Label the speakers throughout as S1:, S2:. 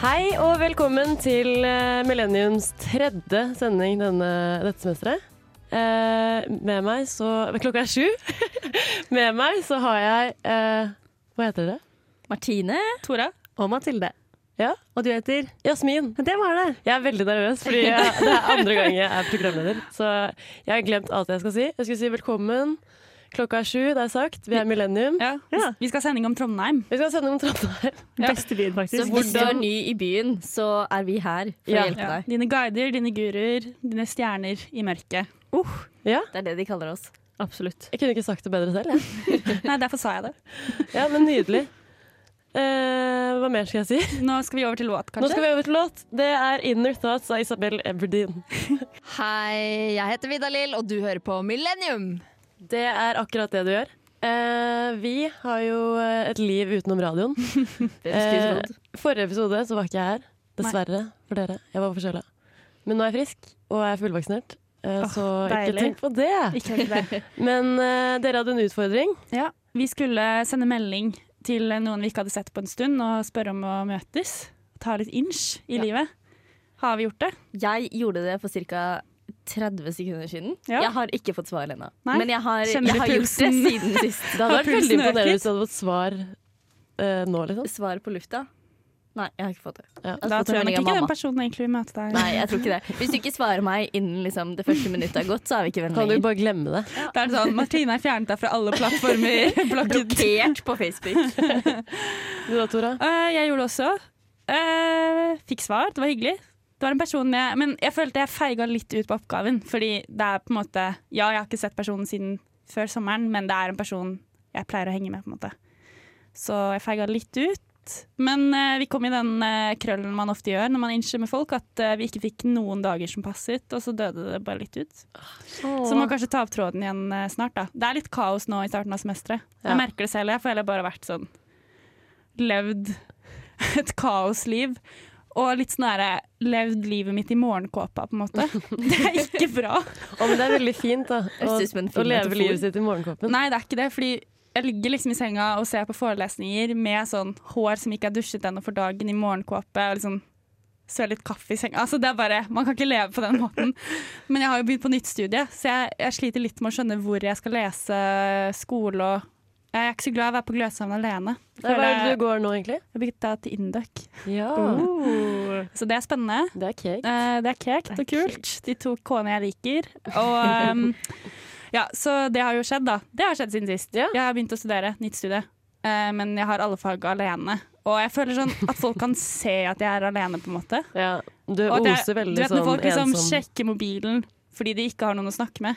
S1: Hei og velkommen til eh, Millenniums tredje sending denne, dette semesteret. Eh, med meg så Klokka er sju. med meg så har jeg eh, Hva heter dere?
S2: Martine.
S3: Tora.
S4: Og Mathilde.
S1: Ja,
S4: Og du heter?
S1: Jasmin.
S4: Det var det.
S1: Jeg er veldig nervøs, fordi jeg, det er andre gang jeg er programleder. Så jeg har glemt alt jeg skal si. Jeg skulle si velkommen. Klokka er sju, det er sagt. Vi er Millennium.
S3: Ja.
S4: Ja.
S3: Vi skal ha sending om Trondheim.
S1: Vi skal sende om Trondheim.
S4: Beste byen,
S2: Så
S4: faktisk.
S2: hvis du er ny i byen, så er vi her for
S1: Ja.
S2: å hjelpe deg.
S3: Dine guider, dine guruer, dine stjerner i mørket.
S2: Uh,
S1: Ja,
S2: Det er det de kaller oss.
S4: Absolutt.
S1: jeg kunne ikke sagt det bedre selv. Jeg.
S3: Nei, derfor sa jeg det.
S1: Ja, men nydelig. Eh, hva mer skal jeg si?
S3: Nå skal vi over til låt,
S1: Nå
S3: kanskje.
S1: skal vi over til låt. Det er 'Inner Thoughts' av Isabel Everdeen.
S5: Hei, jeg heter Vidalil, og du hører på Millennium.
S1: Det er akkurat det du gjør. Eh, vi har jo eh, et liv utenom radioen. Eh, forrige episode så var ikke jeg her, dessverre for dere. Jeg var forkjøla. Men nå er jeg frisk, og jeg er fullvaksinert, eh,
S3: Åh,
S1: så
S3: deilig.
S1: ikke tenk på det.
S3: Ikke helt det.
S1: Men eh, dere hadde en utfordring.
S3: Ja, vi skulle sende melding til noen vi ikke hadde sett på en stund, og spørre om å møtes. Ta litt inch i
S2: Ja.
S3: livet. Har vi gjort det?
S2: Jeg gjorde det for ca. 30 sekunder siden.
S3: Ja.
S2: Jeg har ikke fått svar ennå.
S3: Nei.
S2: Men jeg har,
S3: Kjenner
S2: jeg
S3: du
S2: har gjort det
S3: pulsen?
S2: siden sist.
S1: Det hadde
S3: Har
S1: vært veldig
S3: pulsen
S1: imponerende
S3: øket?
S1: hvis du hadde fått svar eh, nå, liksom.
S2: Svar på lufta? Nei, jeg har ikke fått det.
S1: Ja.
S2: har
S3: Da
S2: fått en
S3: tror jeg
S2: melding
S3: nok
S2: av
S3: ikke den
S2: mamma.
S3: personen egentlig vil møte deg.
S2: Nei, jeg tror ikke det. Hvis du ikke svarer meg innen liksom, det første minuttet er gått, så er vi ikke venner
S1: Kan du
S2: lenger.
S1: bare glemme det?
S3: Det er sånn, Martine er fjernet deg fra alle plattformer. Blokket.
S2: Blokkert på Facebook.
S1: Du da, Tora?
S3: Eh, jeg gjorde det også. Eh, fikk svar, det var hyggelig. Det var en person jeg, Men jeg følte jeg feiga litt ut på oppgaven. Fordi det er på en måte Ja, jeg har ikke sett personen siden før sommeren, men det er en person jeg pleier å henge med, på en måte. Så jeg feiga litt ut. Men eh, vi kom i den eh, krøllen man ofte gjør når man innser med folk, at eh, vi ikke fikk noen dager som passet, og så døde det bare litt ut. Så må kanskje ta opp tråden igjen eh, snart, da. Det er litt kaos nå i starten av semesteret.
S1: Ja.
S3: Jeg merker det selv. Jeg får heller bare vært sånn Levd et kaosliv. Og litt sånn derre levd livet mitt i morgenkåpa, på en måte. Det er ikke bra.
S1: Å, men det er veldig fint, da. Å,
S2: Høres ut som en
S1: å
S2: fin
S1: leve
S2: metafor.
S1: livet sitt i morgenkåpen.
S3: Nei, det er ikke det. Fordi jeg ligger liksom i senga og ser på forelesninger med sånn hår som ikke er dusjet ennå for dagen, i morgenkåpe. Og liksom søler litt kaffe i senga. Altså, det er bare Man kan ikke leve på den måten. Men jeg har jo begynt på nytt studie, så jeg, jeg sliter litt med å skjønne hvor jeg skal lese skole og Jeg er ikke så glad i å være på Gløshaugen alene.
S1: Nei, Hva er det du går nå, egentlig?
S3: Jeg bytta til Induc,
S1: Ja,
S4: Uh.
S3: så det er spennende.
S1: det er cake.
S3: Eh, det er kekt og kult. De to k-ene jeg liker. Og ehm, ja, så det har jo skjedd, da. Det har skjedd siden sist.
S1: Ja.
S3: Jeg har begynt å studere, nytt studie. Eh, men jeg har alle fag alene. Og jeg føler sånn at folk kan se at jeg er alene, på en måte.
S1: Ja, du
S3: Og at jeg-
S1: oser veldig
S3: du vet når
S1: sånn
S3: folk liksom
S1: ensom.
S3: sjekker mobilen fordi de ikke har noen å snakke med.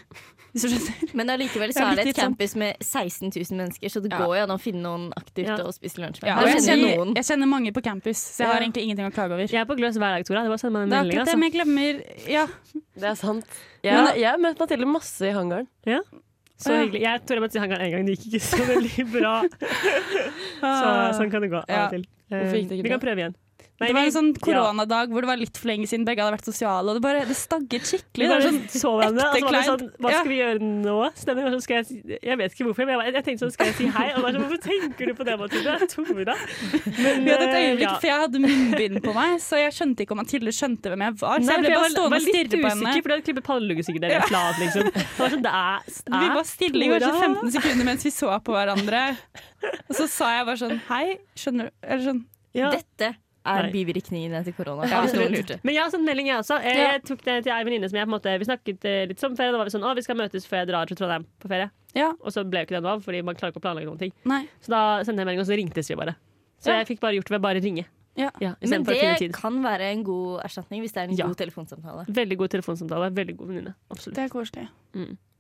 S3: Hvis du skjønner.
S2: Men allikevel
S3: Jeg
S2: så
S3: er
S2: er det
S3: litt
S2: et campus med 16 000 mennesker, så det
S3: Ja.
S2: går jo an å finne noen aktivt
S4: Ja.
S2: å spise lunsj med.
S3: Ja, og
S2: Her
S3: jeg
S2: kjenner jeg
S3: kjenner,
S2: noen.
S3: jeg kjenner mange på campus, så jeg har egentlig ingenting å klage over.
S4: Jeg er på gløs hver dag, Tora. Det er bare å sende meg en
S3: Det er
S4: melding.
S3: akkurat det,
S4: Altså.
S3: men jeg glemmer Ja.
S1: Det er sant. Jeg, jeg har møtt Mathilde masse i hangaren.
S4: Så hyggelig. Jeg tror jeg måtte si hangaren en gang, det gikk ikke så veldig bra. Så, sånn kan det gå av
S3: Ah. Ja.
S4: og til. Eh,
S1: Hvorfor gikk det ikke
S4: vi kan prøve igjen. Nei,
S3: Det var
S4: vi-
S3: en sånn
S4: ja.
S3: koronadag hvor det var litt for lenge siden begge hadde vært sosiale, og det bare det stagget
S4: Vi
S3: skikkelig. Det
S4: bare
S3: var sånn
S4: så hverandre, og så var det
S3: kleint.
S4: sånn Hva
S3: Ja.
S4: skal vi gjøre nå? Stemmer, og så skal jeg, si- jeg vet ikke hvorfor, men jeg, var- jeg tenkte sånn Skal jeg si hei? Og da er det sånn, Hvorfor tenker du på det, Mathilde? Tora? Men,
S3: Vi hadde et
S4: eh,
S3: øyeblikk,
S4: ja.
S3: for jeg hadde munnbind på meg, så jeg skjønte ikke om Mathilde skjønte hvem jeg var. Så
S4: Nei,
S3: jeg
S4: for
S3: ble
S4: jeg
S3: bare
S4: var-
S3: stående
S4: var
S3: og
S4: litt
S3: stirre på henne.
S4: usikker, for du hadde klippet panneluggen sikkert eller et eller annet, liksom. Det var sånn, det er, det
S3: Vi
S4: er
S3: var stille i
S4: Tora.
S3: kanskje 15 sekunder mens vi så på hverandre. Og så sa jeg bare sånn Hei, skjønner du Eller sånn
S4: ja.
S2: Dette er
S4: Nei.
S2: bivirkningene etter korona.
S3: Ja,
S2: hvis noen
S3: absolutt.
S2: lurte.
S4: Men jeg har sendt melding, jeg også. Jeg,
S3: Ja.
S4: jeg tok det til ei venninne som jeg på en måte, vi snakket eh, litt som ferie. Da var vi sånn å, vi skal møtes før jeg drar til Trondheim på ferie.
S3: Ja,
S4: Og så ble jo ikke det noe av, fordi man klarer ikke å planlegge noen ting.
S3: nei.
S4: Så da sendte jeg melding, og så ringtes vi bare. Så
S3: Ja.
S4: jeg fikk bare gjort det ved bare å ringe.
S3: Ja.
S4: Ja, i stedet
S2: Men
S4: for å finne
S2: det
S4: tid.
S2: kan være en god erstatning hvis det er en
S4: Ja.
S2: god telefonsamtale.
S4: Veldig god telefonsamtale. Veldig god venninne. Absolutt.
S3: Det er koselig.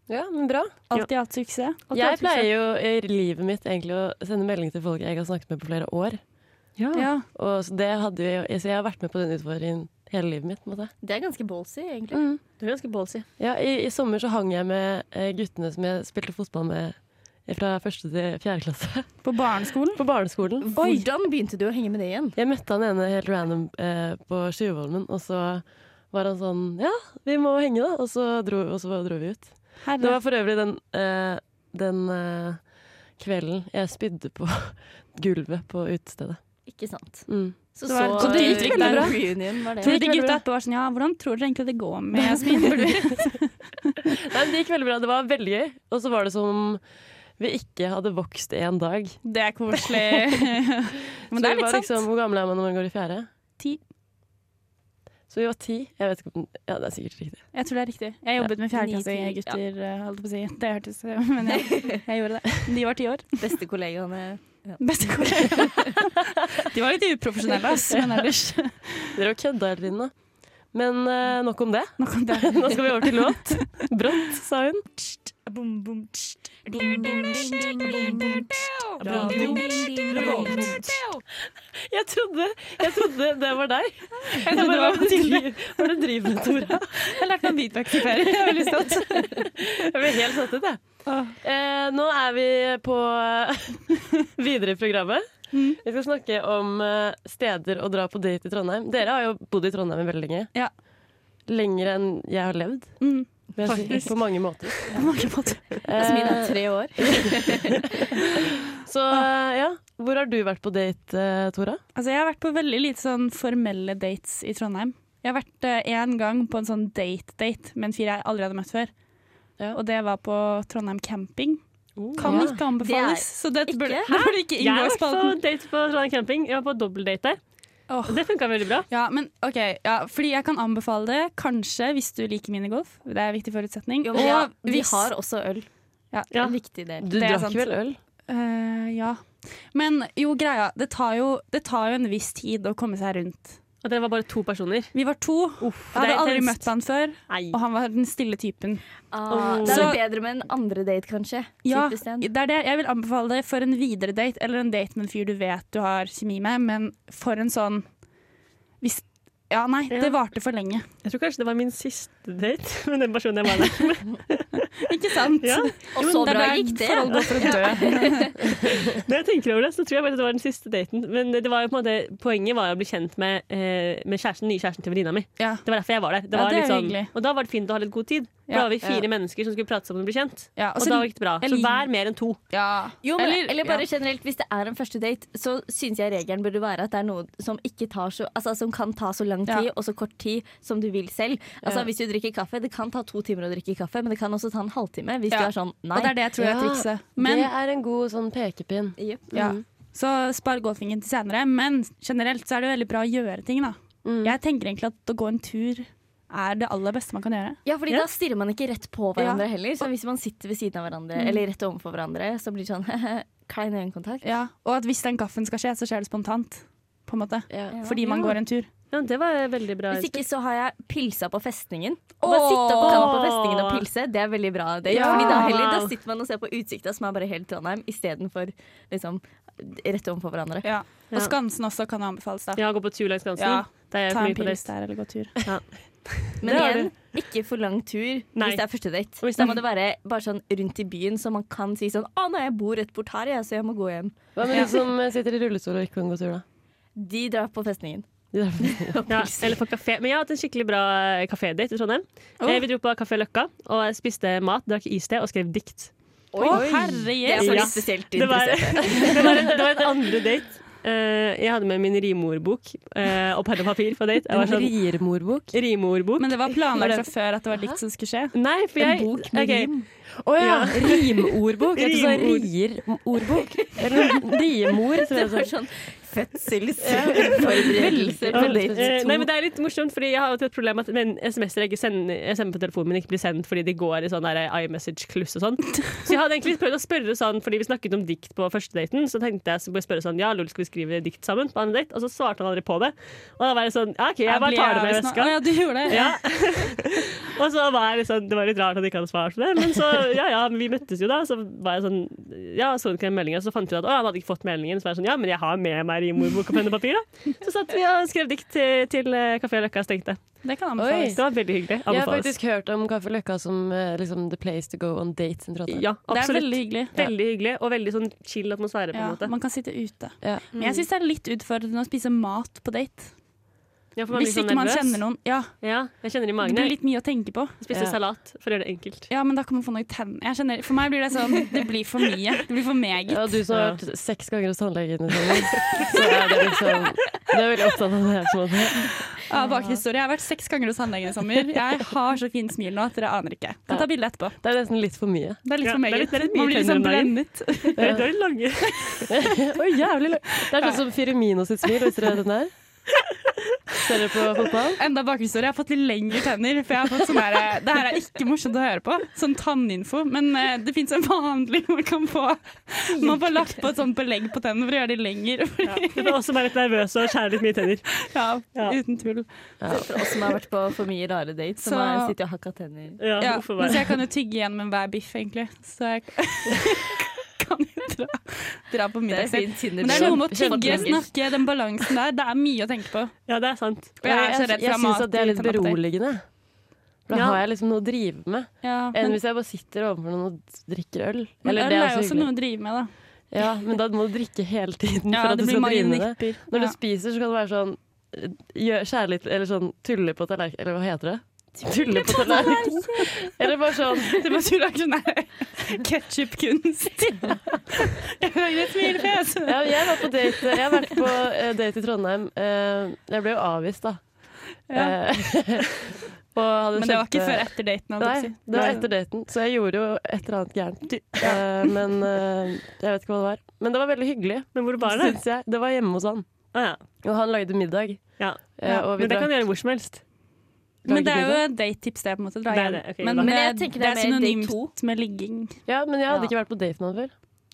S1: Ja, men bra.
S3: Alltid hatt suksess.
S4: Alt i
S1: Jeg
S4: alt,
S1: pleier jo i livet mitt egentlig å sende melding til folk jeg ikke har snakket med på flere år.
S4: Ja.
S3: Ja.
S1: Og så, det hadde jo, så jeg har vært med på den utfordringen hele livet mitt. på en Måte.
S2: Det er ganske ballsy, egentlig.
S4: Du er ganske ballsy.
S1: Ja, i, I sommer så hang jeg med eh, guttene som jeg spilte fotball med fra første til fjerde klasse
S3: På barneskolen.
S1: på barneskolen.
S3: Oi.
S2: Hvordan begynte du å henge med det igjen?
S1: Jeg møtte han ene helt random eh, på Tjuvholmen, og så var han sånn Ja, vi må henge, da. Og så dro, og så dro vi ut. Det
S3: Herre.
S1: var for øvrig den, eh, den eh, kvelden jeg spydde på gulvet på utestedet.
S2: Ikke sant.
S1: Mm.
S2: Så
S3: Det
S2: så,
S3: var- Og det gikk
S2: uttrykt
S3: veldig
S2: der
S3: bra.
S2: reunion var det.
S3: Tror du de gutta etterpå var sånn Ja, hvordan tror dere egentlig det går med Jasmin? Burde vi-
S1: Nei, men det gikk veldig bra. Det var veldig gøy. Og så var det som vi ikke hadde vokst én dag.
S3: Det er koselig. Men
S1: så vi var
S3: det er litt sånn-
S1: liksom,
S3: sant.
S1: Hvor gammel er man når man går i fjerde?
S3: Ti.
S1: Så vi var ti. Jeg vet ikke om Ja, det er sikkert riktig.
S3: Jeg tror det er riktig. Jeg jobbet med fjerdeklassegutter, eh, holdt på å si. Det hørtes eh, Men jeg, jeg gjorde det. De var ti år.
S2: Beste kollegaene.
S3: Beste kollega. De var litt uprofesjonelle, ass, men ellers
S1: Dere var kødda hele tiden, da. Men eh, nok om det.
S3: Nå kom det.
S1: Nå skal vi over til låt. Brått, sa hun.
S4: Boom, boom, tss.
S1: Jeg trodde, jeg trodde det var deg. Jeg
S3: trodde det var
S1: hva du driver- Hva er det du driver med, Tora?
S3: Jeg lærte meg beatbox i ferie. Jeg er
S2: Eh,
S3: veldig stolt.
S1: Jeg ble helt satt ut, jeg.
S3: Åh.
S1: Eh, nå er vi på eh, videre i programmet.
S3: Mm.
S1: Vi skal snakke om eh, steder å dra på date i Trondheim. Dere har jo bodd i Trondheim veldig lenge.
S3: Ja.
S1: Lenger enn jeg har levd.
S3: Mm.
S1: vil jeg si.
S3: Faktisk.
S1: På mange måter.
S3: På mange måter.
S2: Jasmin er
S1: Eh,
S2: tre år.
S1: så eh, ja, hvor har du vært på date, eh, Tora?
S3: Altså, jeg har vært på veldig lite sånn formelle dates i Trondheim. Jeg har vært én gang på en sånn date-date med en fyr jeg aldri hadde møtt før.
S1: Ja.
S3: Og det var på Trondheim camping. Kan
S1: Ja.
S3: ikke anbefales. så det
S2: ikke-
S3: burde, det burde ikke
S4: Jeg
S3: inngå
S4: har
S3: i
S4: vært på
S3: spalten.
S4: date på Trondheim camping. Jeg var på dobbeltdate der.
S3: Åh.
S4: Og det funka veldig bra.
S3: Ja, men ok, ja, fordi jeg kan anbefale det kanskje hvis du liker minigolf. Det er en viktig forutsetning.
S2: Jo,
S3: Og
S2: men ja, vi
S3: hvis-
S2: har også øl.
S3: Ja.
S2: Det er En viktig del.
S1: Du
S3: Det er
S1: drakk
S3: sant.
S1: vel øl?
S3: Eh, ja. Men jo, greia, det tar jo, det tar jo en viss tid å komme seg rundt.
S4: Og dere var bare to personer.
S3: Vi var to.
S4: Uff,
S3: Jeg hadde
S4: det er
S3: aldri
S4: intenst.
S3: møtt han før,
S4: Nei.
S3: og han var den stille typen.
S2: Ah,
S4: Åh.
S2: Da er
S3: Så-
S2: det bedre med en andre date, kanskje.
S3: Ja,
S2: Typisk den.
S3: det er det. Jeg vil anbefale det for en videre date, eller en date med en fyr du vet du har kjemi med, men for en sånn hvis, Ja, nei,
S4: Ja.
S3: det varte for lenge.
S4: Jeg tror kanskje det var min siste date med den personen jeg var der med.
S3: Ikke sant?
S4: Ja.
S2: Og så
S3: Det er
S2: bra
S3: der
S2: gikk det.
S3: Forhold går for å dø.
S4: Når jeg tenker over det, så tror jeg bare at det var den siste daten. Men det var jo på en måte, poenget var å bli kjent med, eh, med kjæresten, nye kjæresten til venninna mi.
S3: Ja.
S4: Det var derfor jeg var der. Det
S3: Ja,
S4: var
S3: det er
S4: litt sånn-
S3: hyggelig.
S4: og da var det fint å ha litt god tid. For
S3: Ja,
S4: da var vi fire mennesker som skulle prate sammen og bli kjent.
S3: Ja, og
S4: Og
S3: så-
S4: da gikk det bra.
S3: jeg
S4: Så
S3: lik-
S4: vær mer enn to.
S3: Ja.
S2: Jo, men,
S3: Eller-
S2: eller, bare
S3: ja.
S2: generelt, hvis det er en første date, så syns jeg regelen burde være at det er noe som, ikke tar så, altså, som kan ta så lang tid
S3: Ja.
S2: og så kort tid som du vil selv. Altså, Hvis du drikker kaffe, Det kan ta to timer å drikke kaffe, men det kan også ta en halvtime hvis
S3: Ja.
S2: du er sånn nei.
S3: Og det er det jeg tror jeg er
S1: Ja,
S3: trikset. Men,
S1: det er en god sånn pekepinn.
S2: Jep.
S3: ja.
S4: Mm.
S3: Så spar golfingen til senere. Men generelt så er det veldig bra å gjøre ting, da.
S1: Mm.
S3: Jeg tenker egentlig at å gå en tur er det aller beste man kan gjøre.
S2: Ja, fordi da stirrer man ikke rett på hverandre heller. Så hvis man sitter ved siden av hverandre,
S3: Mm.
S2: eller rett overfor hverandre, så blir det sånn klein øyekontakt.
S3: Ja. Og at hvis den gaffen skal skje, så skjer det spontant. På en måte.
S1: Ja.
S3: Fordi man
S4: Ja.
S3: går en tur.
S4: Ja, det var veldig bra.
S2: Hvis
S4: innspill.
S2: ikke så har jeg pilsa på festningen. Å bare sitte opp på festningen og pilse, det er veldig bra. Det,
S3: Ja.
S2: fordi da, heller, da sitter man og ser på utsikta som er bare helt Trondheim, istedenfor liksom, rett overfor hverandre.
S3: Ja.
S4: Ja.
S3: Og Skansen også kan anbefales, da.
S4: Ja, gå på tur langs grensen.
S3: Ja.
S4: Det er jeg
S3: Ta
S4: for
S3: en
S4: mye på
S3: pils
S4: date.
S3: der eller gå tur.
S2: Men
S4: Det er
S2: igjen, ikke for lang tur
S4: Nei.
S2: hvis det er første date.
S4: Og hvis
S2: Da må
S4: det-
S2: det være bare sånn rundt i byen, så man kan si sånn Å, nei, jeg bor rett bort her, jeg, så jeg må gå hjem.
S1: Hva med
S3: Ja.
S1: de som liksom, eh, sitter i rullestol og ikke kan gå tur, da?
S2: De drar på festningen.
S1: De der
S4: Ja, eller på kafé. Men jeg har hatt en skikkelig bra eh, kafédate i Trondheim.
S3: Oh.
S4: Eh, Vi dro på Kafé Løkka og jeg spiste mat, drakk iste og skrev dikt.
S3: Å, herre
S2: Det er for
S4: Ja.
S2: de spesielt
S4: Det var,
S2: interesserte.
S4: det var, en, det var en andre date. Eh, jeg hadde med min rimordbok eh, og penn og papir på date. Jeg var sånn,
S1: Riermorbok.
S4: rimordbok?
S3: Men det var planlagt fra før at det var dikt som skulle skje.
S4: Nei, for jeg
S2: En bok med
S4: ok.
S2: rim.
S1: Å ja! Rimordbok. Jeg tror
S4: Rimord.
S1: du sa rierordbok. Eller riemor, tror
S2: Det
S1: jeg du
S2: var
S1: sa.
S2: sånn fødselsforberedelse på date
S4: Eh, Nei, men
S2: to.
S4: det er litt morsomt, Fordi jeg har alltid et problem med at men SMS-er jeg, ikke sender, jeg sender på telefonen min, ikke blir sendt fordi de går i sånn der iMessage-kluss og sånn. Så jeg hadde egentlig prøvd å spørre sånn, fordi vi snakket om dikt på første daten, så tenkte jeg så burde jeg spørre sånn Ja, lol, skal vi skrive dikt sammen på andre date? Og så svarte han aldri på det. Og da var jeg sånn Ja, OK, jeg bare tar det med i veska.
S3: Å, ja, du gjorde det.
S4: Ja. og så var jeg litt sånn- det var litt rart at han ikke hadde svart på det, men så ja ja, men vi møttes jo da. Så var jeg sånn, ja, så ikke den meldingen, så fant vi ut at å, han hadde ikke fått meldingen. Så var jeg sånn, ja, men jeg har med meg rimordbok og penn og papir, da. Så satt vi og skrev dikt til, til eh, Kafé Løkka stengte.
S3: Det kan
S1: Oi.
S3: anbefales.
S4: Det var veldig hyggelig.
S1: Jeg har
S4: Anbefales.
S1: faktisk hørt om Kaffe Løkka som eh, liksom, the place to go on dates in Trondheim.
S4: Ja,
S3: Det er
S4: absolutt.
S3: veldig
S4: Veldig,
S3: hyggelig.
S4: hyggelig, og veldig sånn chill atmosfære, på en
S3: Ja,
S4: måte. Mm.
S3: man kan sitte ute.
S1: Ja.
S3: Men jeg syns det er litt utfordrende å spise mat på date.
S4: Ja, for man
S3: Hvis
S4: blir sånn
S3: ikke man
S4: nervøs.
S3: kjenner noen. Ja,
S4: Ja, jeg kjenner
S3: det
S4: det i magen.
S3: blir
S4: Jeg
S3: litt mye å tenke på.
S4: spiste
S1: Ja.
S4: salat for å gjøre det enkelt.
S3: Ja, men da kan man få noe i tennene. Jeg kjenner- For meg blir det sånn Det blir for mye. Det blir for meget.
S1: Ja, du som har vært seks ganger hos tannlegen, i sommer, så er det liksom Du er veldig opptatt av det. på en måte.
S3: Ja, bakhistorie. Jeg har vært seks ganger hos tannlegen i sommer. Jeg har så fint smil nå at dere aner ikke. Kan ta bilde etterpå.
S1: Det er nesten litt for mye.
S3: Det er litt
S4: Ja,
S3: for
S4: det er
S3: meget.
S4: litt- det er litt mye
S3: Man blir liksom
S4: tenner om
S3: blendet.
S4: Det er litt lange.
S1: Oi, jævlig lang. Det er sånn som Firmino sitt smil, hvis dere vet den der. Ser dere på fotball?
S3: Enda bakhistorie. Jeg har fått litt lengre tenner. For jeg har fått sånn her, Det her er ikke morsomt å høre på. Sånn tanninfo. Men eh, det fins en vanlig man kan få Man får lagt på et sånt belegg på tennene for å gjøre de lengre. fordi-
S4: Du får også være litt nervøs og skjære litt mye tenner.
S3: Ja,
S4: Ja.
S3: uten tull.
S2: For oss som har vært på for mye rare dates, som
S3: Så-
S2: har sittet og hakka tenner.
S4: Ja,
S3: Ja,
S4: hvorfor
S3: men så
S4: være-
S3: jeg kan jo tygge igjen med hver biff, egentlig. Så jeg kan jo dra, dra på
S2: Det er
S3: middagsdate.
S2: fint Tinder.
S3: Men det er noe med å
S2: Kjempe-
S3: tygge,
S2: kjempe-
S3: snakke, den balansen der. Det er mye å tenke på.
S4: ja, det er sant.
S3: Og jeg er så redd for
S1: jeg syns at det er litt
S3: mat i tannpapir.
S1: beroligende. For da
S4: Ja.
S1: har jeg liksom noe å drive med.
S3: Ja,
S1: Enn
S3: men,
S1: hvis jeg bare sitter overfor noen og drikker øl.
S3: men
S1: Eller
S3: øl
S1: det
S3: er
S1: er
S3: jo
S1: også
S3: også noe
S1: hyggelig.
S3: å drive med, da.
S1: Ja, men da må du drikke hele tiden
S3: Ja,
S1: for at
S3: det
S1: du
S3: blir
S1: skal
S3: mange
S1: drive med det.
S3: nipper.
S1: Når
S3: Ja.
S1: du spiser, så kan det være sånn eh, gjør- Skjære litt, eller sånn tulle på tallerken Eller hva heter det? Tulle på tallerken. Eller bare sånn
S3: Det var tur at hun er ketsjupkunst. Jeg lager et smilefjes.
S1: ja, jeg, var på date, jeg har vært på eh, date i Trondheim. Eh, jeg ble jo avvist, da.
S3: Ja.
S1: Eh, og hadde
S3: Men det var
S1: kjempe-
S3: ikke før etter daten. holdt jeg
S1: Nei,
S3: på å si.
S1: det var etter daten, så jeg gjorde jo et eller annet gærent. Eh, men eh, jeg vet ikke hva det var. Men det var veldig hyggelig,
S4: Men hvor var det?
S1: syns jeg. Det var hjemme hos han,
S4: Ah, ja.
S1: og han lagde middag.
S4: Ja.
S1: Eh, og vi
S4: Men det kan
S1: drakk
S4: du gjøre hvor som helst.
S3: Men det er jo
S1: middag.
S3: et datetips, det. på en måte. Dra
S4: Det er
S3: hjem.
S4: det, ok,
S3: men,
S4: da.
S2: Men
S3: eh,
S2: jeg tenker det er mer date to.
S3: synonymt med ligging.
S1: Ja, men jeg hadde
S2: Ja.
S1: ikke vært på date med han før.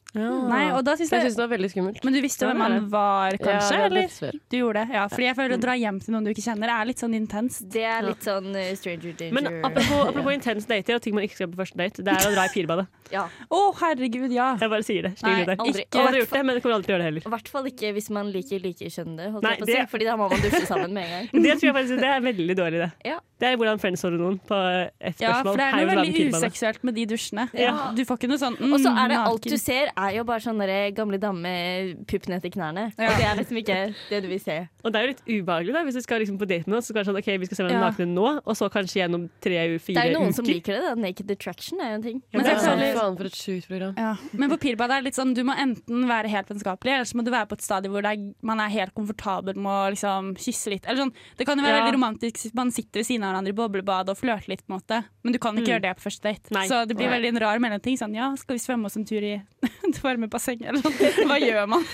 S3: Nei, og da synes
S1: Så jeg
S3: jeg
S1: syns Ah. det var veldig skummelt.
S3: Men du visste
S4: Ja,
S3: hvem
S4: det er
S3: han var, kanskje?
S1: ja,
S3: eller?
S1: eller?
S3: Du gjorde det, ja. Fordi jeg føler å dra hjem til noen du ikke kjenner, er litt sånn intenst.
S2: Det er litt sånn eh, stranger danger.
S4: Men apropos, apropos intense dater og ting man ikke skal gjøre på første date, det er å dra i pirbadet.
S2: ja.
S3: Å, herregud, ja.
S4: Jeg bare sier det. slik
S2: Nei,
S4: det er.
S2: aldri.
S4: Ikke hadde gjort det, men jeg kommer aldri til å gjøre det heller.
S2: I hvert fall ikke hvis man liker likekjønnede, holdt
S4: Nei,
S2: jeg på å si.
S4: det-
S2: Fordi da må man dusje sammen med en gang.
S4: Det tror jeg faktisk det er veldig dårlig, det.
S2: Ja.
S4: Det er hvordan friendsholde noen på ett
S3: Ja,
S4: spørsmål.
S3: for det er noe
S4: Hei, vil du være med
S3: veldig
S4: i pirbadet?
S3: useksuelt med de dusjene.
S2: Ja.
S3: Du får ikke noe sånn mm,
S2: Og så er det alt du
S3: naken.
S2: ser, er jo bare sånn derre gamle dame med pupp ned til knærne.
S3: Ja.
S2: Og det er liksom ikke det du vil se.
S4: Og det er jo litt ubehagelig da, hvis du skal liksom på date med noen. Så skal det være sånn, ok, vi skal se hverandre
S3: Ja.
S4: nakne nå, og så kanskje gjennom tre,
S2: Det
S4: fire
S2: er jo noen
S4: uker.
S2: som liker det. da Naked attraction er jo en ting.
S3: Men
S1: Ja,
S3: jeg føler-
S1: faen for et sjukt program.
S3: Ja. Men på Pirbadet er det litt sånn du må enten være helt vennskapelig, eller så må du være på et stadium hvor det er, man er helt komfortabel med å liksom kysse litt. Eller sånn. Det kan jo være
S4: Ja.
S3: veldig romantisk hvis man sitter ved siden av hverandre i boblebad og flørter litt, på en måte. men du kan ikke gjøre det på første date.
S4: Nei.
S3: Så det blir
S1: Nei.
S3: veldig en rar mellomting. Sånn ja, skal vi svømme oss en tur i det varme bassenget, eller sånn. Hva gjør man?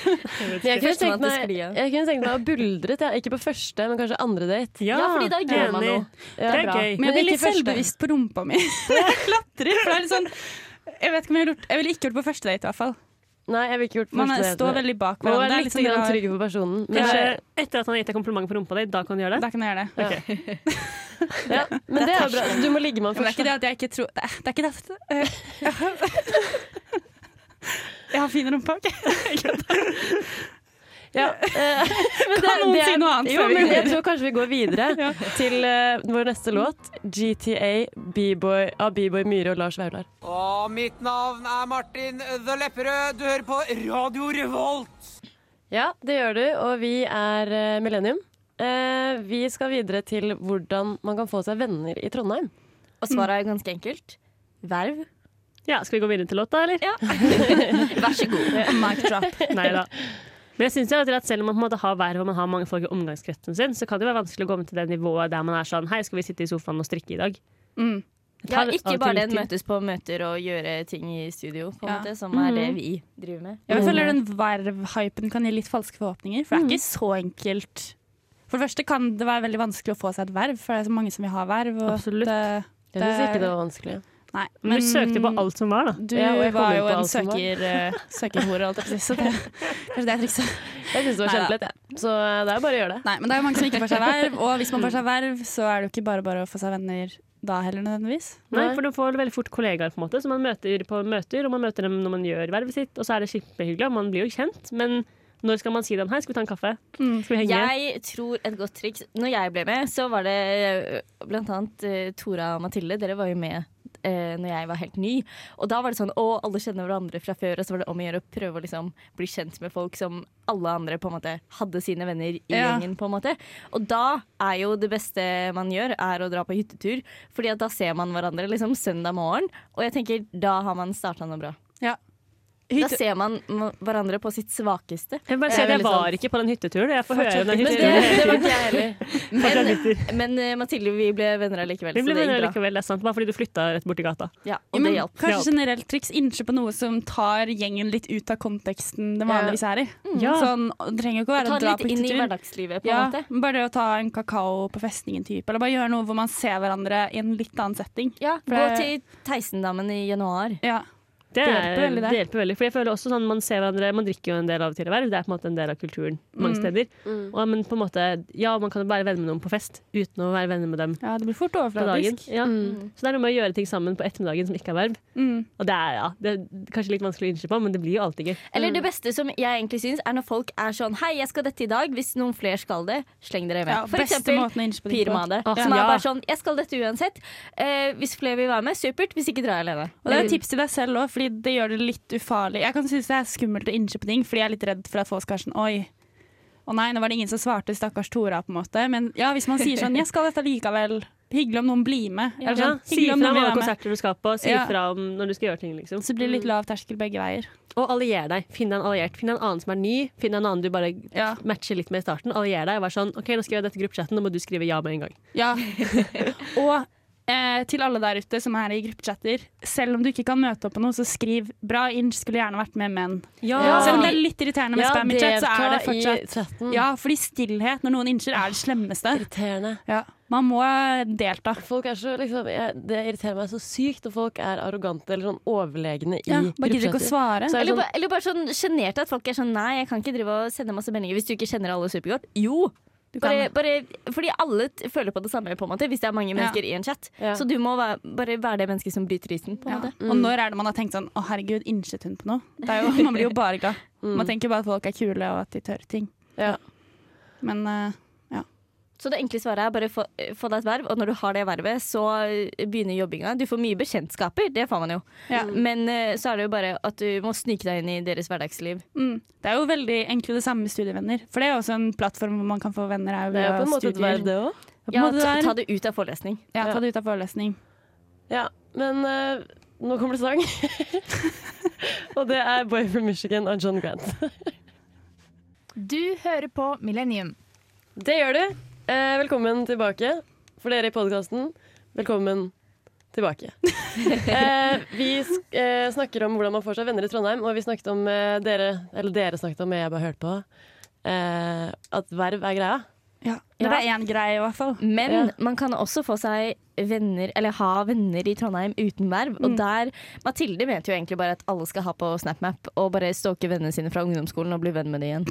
S1: Jeg kunne tenkt
S2: Førstemann til
S1: meg,
S2: sklia.
S1: jeg kunne tenkt meg å buldret, jeg. ikke på første, men kanskje andre date.
S4: Ja,
S2: Ja, fordi da gjør man
S4: enig.
S2: noe.
S1: Ja.
S4: Det er
S3: Men jeg
S4: gøy.
S1: Men
S3: blir
S1: ikke
S3: litt
S1: første.
S3: selvbevisst på rumpa mi. Jeg klatrer. For det er litt sånn jeg vet ikke om jeg, har gjort, jeg ville ikke gjort det på første date, i hvert fall.
S1: Nei, jeg vil ikke gjort
S3: Man
S1: første
S3: er,
S1: date.
S3: står veldig bak
S1: Man må
S3: hverandre.
S1: være
S3: Det er
S1: litt
S3: litt sånn
S1: grann
S3: rar-
S1: trygg på personen. Men,
S4: Kanskje
S1: det-
S4: etter at han har gitt deg kompliment på rumpa di, da kan du gjøre det?
S3: Da kan jeg gjøre det.
S1: ja. men det er jo bra. Du må ligge med han
S3: Men det er
S1: først.
S3: ikke det at jeg ikke tror Det er, det er ikke det at eh, Jeg har fin rumpe, OK?
S1: Ja. eh, men det,
S3: Kan noen
S1: det
S3: si noe annet
S1: Jo,
S3: før vi
S1: men
S3: går
S1: jeg tror kanskje vi går videre til eh, vår neste låt, GTA B-boy, av B-boy Myhre og Lars Vaular.
S6: Og mitt navn er Martin The Lepperød. Du hører på Radio Revolt.
S1: Ja, det gjør du, og vi er eh, Millennium. Eh, vi skal videre til hvordan man kan få seg venner i Trondheim.
S2: Og svaret er jo ganske enkelt. Verv.
S4: Ja, Skal vi gå videre til låta, eller?
S2: Vær så god.
S3: Mic drop.
S4: Nei da. Men jeg synes jo at selv om man på en måte har verv og man har mange folk i omgangskretsen sin, så kan det jo være vanskelig å komme til det nivået der man er sånn Hei, skal vi sitte i sofaen og strikke i dag?
S3: Mm.
S2: Ja,
S4: tar
S2: ikke
S4: alltid
S2: bare
S4: litt
S2: den
S4: tid.
S2: møtes på møter og gjøre ting i studio, på en
S3: Ja.
S2: måte, som er det vi driver med.
S3: Jeg føler den vervhypen kan gi litt falske forhåpninger, for det er ikke så enkelt. For det første kan det være veldig vanskelig å få seg et verv, for det er så mange som vil ha verv. Og
S4: Absolutt.
S3: Det,
S1: Jeg syns
S3: Det-
S1: ikke det var vanskelig.
S3: nei,
S4: Men
S2: Mm.
S4: du søkte på alt som var, da.
S3: Du
S1: Ja, og jeg kom
S3: var
S1: inn
S3: jo
S1: på
S3: en
S1: alt som var.
S3: søker, eh, søkerhore, holdt jeg på å si. Så det, kanskje det er trikset.
S1: Jeg syns det var
S3: Neida.
S1: kjempelett, jeg. Så eh, det er bare å gjøre det.
S3: Nei, men det er jo mange som ikke får seg verv, og hvis man får seg verv, så er det jo ikke bare bare å få seg venner da heller, nødvendigvis.
S4: Nei, for du får veldig fort kollegaer på en måte, som man møter på møter, og man møter dem når man gjør vervet sitt, og så er det kjempehyggelig, og man blir jo kjent, men når skal man si dem hei, skal vi ta en kaffe?
S2: Mm,
S4: Skal vi henge?
S2: Jeg tror et godt eh, triks Når jeg ble med, så var det ø, blant annet ø, Tora og Mathilde. Dere var jo med eh, når jeg var helt ny. Og da var det sånn å, alle kjenner hverandre fra før, og så var det om å gjøre å prøve å liksom bli kjent med folk som alle andre på en måte hadde sine venner i
S3: Ja.
S2: gjengen, på en måte. Og da er jo det beste man gjør, er å dra på hyttetur, fordi at da ser man hverandre liksom søndag morgen, og jeg tenker da har man starta noe bra.
S3: Ja.
S2: Da ser man m- hverandre på sitt svakeste.
S4: Jeg vil bare
S2: Det
S4: si
S2: er
S4: at jeg
S2: veldig
S4: var ikke på den hytteturen. Jeg får høre om
S2: Men
S4: den
S2: det,
S4: hytteturen.
S2: det var ikke jeg heller. Men, men eh, Mathilde, vi ble venner allikevel.
S4: Vi
S2: så
S4: ble
S2: det gikk
S4: venner
S2: bra.
S4: likevel, det er sant. Bare fordi du flytta rett borti gata.
S2: Ja,
S3: Ja,
S2: og
S3: men
S2: det hjalp.
S3: Kanskje generelt triks. Innsjø på noe som tar gjengen litt ut av konteksten den vanligvis er i.
S4: Ja.
S3: Sånn, det trenger jo ikke å være
S2: Ta
S3: å
S2: det
S3: dra
S2: litt
S3: på
S2: inn i
S3: hyttetur.
S2: hverdagslivet, på en
S3: Ja,
S2: måte.
S3: bare det å ta en kakao på festningen type, eller bare gjøre noe hvor man ser hverandre i en litt annen setting.
S2: Ja,
S3: For
S2: gå
S3: det-
S2: til Theisendammen i januar.
S3: Ja.
S4: Det,
S3: Det
S4: er,
S3: hjelper veldig, det.
S4: det hjelper veldig. For jeg føler også sånn, Man ser hverandre, man drikker jo en del av og til hver. Det er på en måte en del av kulturen mange steder. Og, men på en måte, ja, man kan jo være venner med noen på fest uten å være venner med dem
S3: ja, det blir fort
S4: på dagen.
S3: overfladisk.
S4: Ja. Så det er noe med å gjøre ting sammen på ettermiddagen som ikke er verv.
S3: Mm.
S4: Og det er ja, det er kanskje litt vanskelig å innse på, men det blir jo alltid gøy.
S2: Eller
S3: Mm.
S2: det beste som jeg egentlig syns, er når folk er sånn Hei, jeg skal dette i dag. Hvis noen flere skal det, sleng dere med.
S3: Ja,
S2: For
S3: beste
S2: eksempel
S3: måten å innspille på.
S2: Pirmade.
S4: Ah,
S2: som er
S4: ja.
S2: bare sånn Jeg skal dette uansett. Eh, hvis flere vil være med, supert. Hvis ikke, drar jeg alene.
S3: Og det er et tips til deg selv òg, fordi det gjør det litt ufarlig. Jeg kan synes det er skummelt å innkjøpe ting, fordi jeg er litt redd for at folk skal være sånn oi. Å nei, nå var det ingen som svarte, stakkars Tora, på en måte. Men ja, hvis man sier sånn jeg skal dette likevel, hyggelig om noen blir med. Eller
S4: Ja,
S3: sånn,
S4: si
S3: hyggelig om
S4: fra
S3: noen
S4: om
S3: vil være
S4: alle
S3: med.
S4: konserter du skal på, si
S3: Ja.
S4: fra om når du skal gjøre ting. liksom.
S3: Så blir det litt lav terskel begge veier.
S4: Og allier deg. Finn deg en alliert. Finn deg en annen som er ny. Finn deg en annen du bare
S3: Ja.
S4: matcher litt med i starten. Allier deg og vær sånn OK, nå skal vi gjøre dette i gruppechatten, nå må du skrive ja med en gang.
S3: Ja. Og eh, til alle der ute som er i gruppechatter, selv om du ikke kan møte opp på noe, så skriv 'bra inch', skulle gjerne vært med menn.
S1: Ja.
S3: Selv om det er litt irriterende med
S1: Ja,
S3: spam i chat, så er det
S1: delta i
S3: fortsatt
S1: chatten.
S3: Ja, fordi stillhet når noen incher er det slemmeste.
S1: Irriterende.
S3: Ja. Man må delta.
S1: Folk er så, liksom, jeg, det irriterer meg så sykt når folk er arrogante eller sånn overlegne i
S3: Ja, bare gidder ikke å
S1: gruppechatter.
S3: svare.
S1: Så er det
S2: Eller,
S1: sånn,
S2: ba- eller bare sånn sjenert at folk er sånn Nei, jeg kan ikke drive og sende masse meldinger hvis du ikke kjenner alle supergodt. Jo!
S3: Du kan-
S2: Bare, bare, fordi alle t- føler på det samme, på en måte hvis det er mange mennesker i en chat.
S1: Ja.
S2: Så du må være, bare være det mennesket som bryter isen. på en
S3: ja.
S2: måte
S1: Mm.
S3: Og når er det man har tenkt sånn 'Å, herregud, innsett hun på noe?' Det er jo, man blir jo bare glad. Man tenker bare at folk er kule, og at de tør ting.
S1: Mm. ja.
S3: Men eh,
S2: Så det enkle svaret er bare få, få deg et verv, og når du har det vervet, så eh, begynner jobbinga. Du får mye bekjentskaper, det får man jo.
S3: ja.
S1: Mm.
S2: Men eh, så er det jo bare at du må snike deg inn i deres hverdagsliv.
S3: Mm. Det er jo veldig egentlig det samme med studievenner. For det er jo også en plattform hvor man kan få venner. Er jo
S1: Det er jo
S3: via
S1: på en måte et
S3: studier.
S1: verv, det òg.
S3: Det er på en
S2: Ja, ta,
S3: måte det er-
S2: ta det ut av forelesning.
S3: ja, ta det ut av forelesning.
S1: Ja, men eh, nå kommer det sang. og det er Boy from Michigan av John Grant.
S7: Du hører på Millennium.
S1: Det gjør du. Eh, velkommen tilbake. For dere i podkasten, velkommen tilbake. eh, vi sk eh, snakker om hvordan man får seg venner i Trondheim, og vi snakket om eh, dere Eller dere snakket om, men jeg bare hørte på. Eh, at verv er greia.
S3: Ja. Det er én greie, i hvert fall.
S2: Men
S1: Ja.
S2: man kan også få seg venner, eller ha venner i Trondheim uten verv. Og der Mathilde mente jo egentlig bare at alle skal ha på SnapMap og bare stalke vennene sine fra ungdomsskolen og bli venn med dem igjen.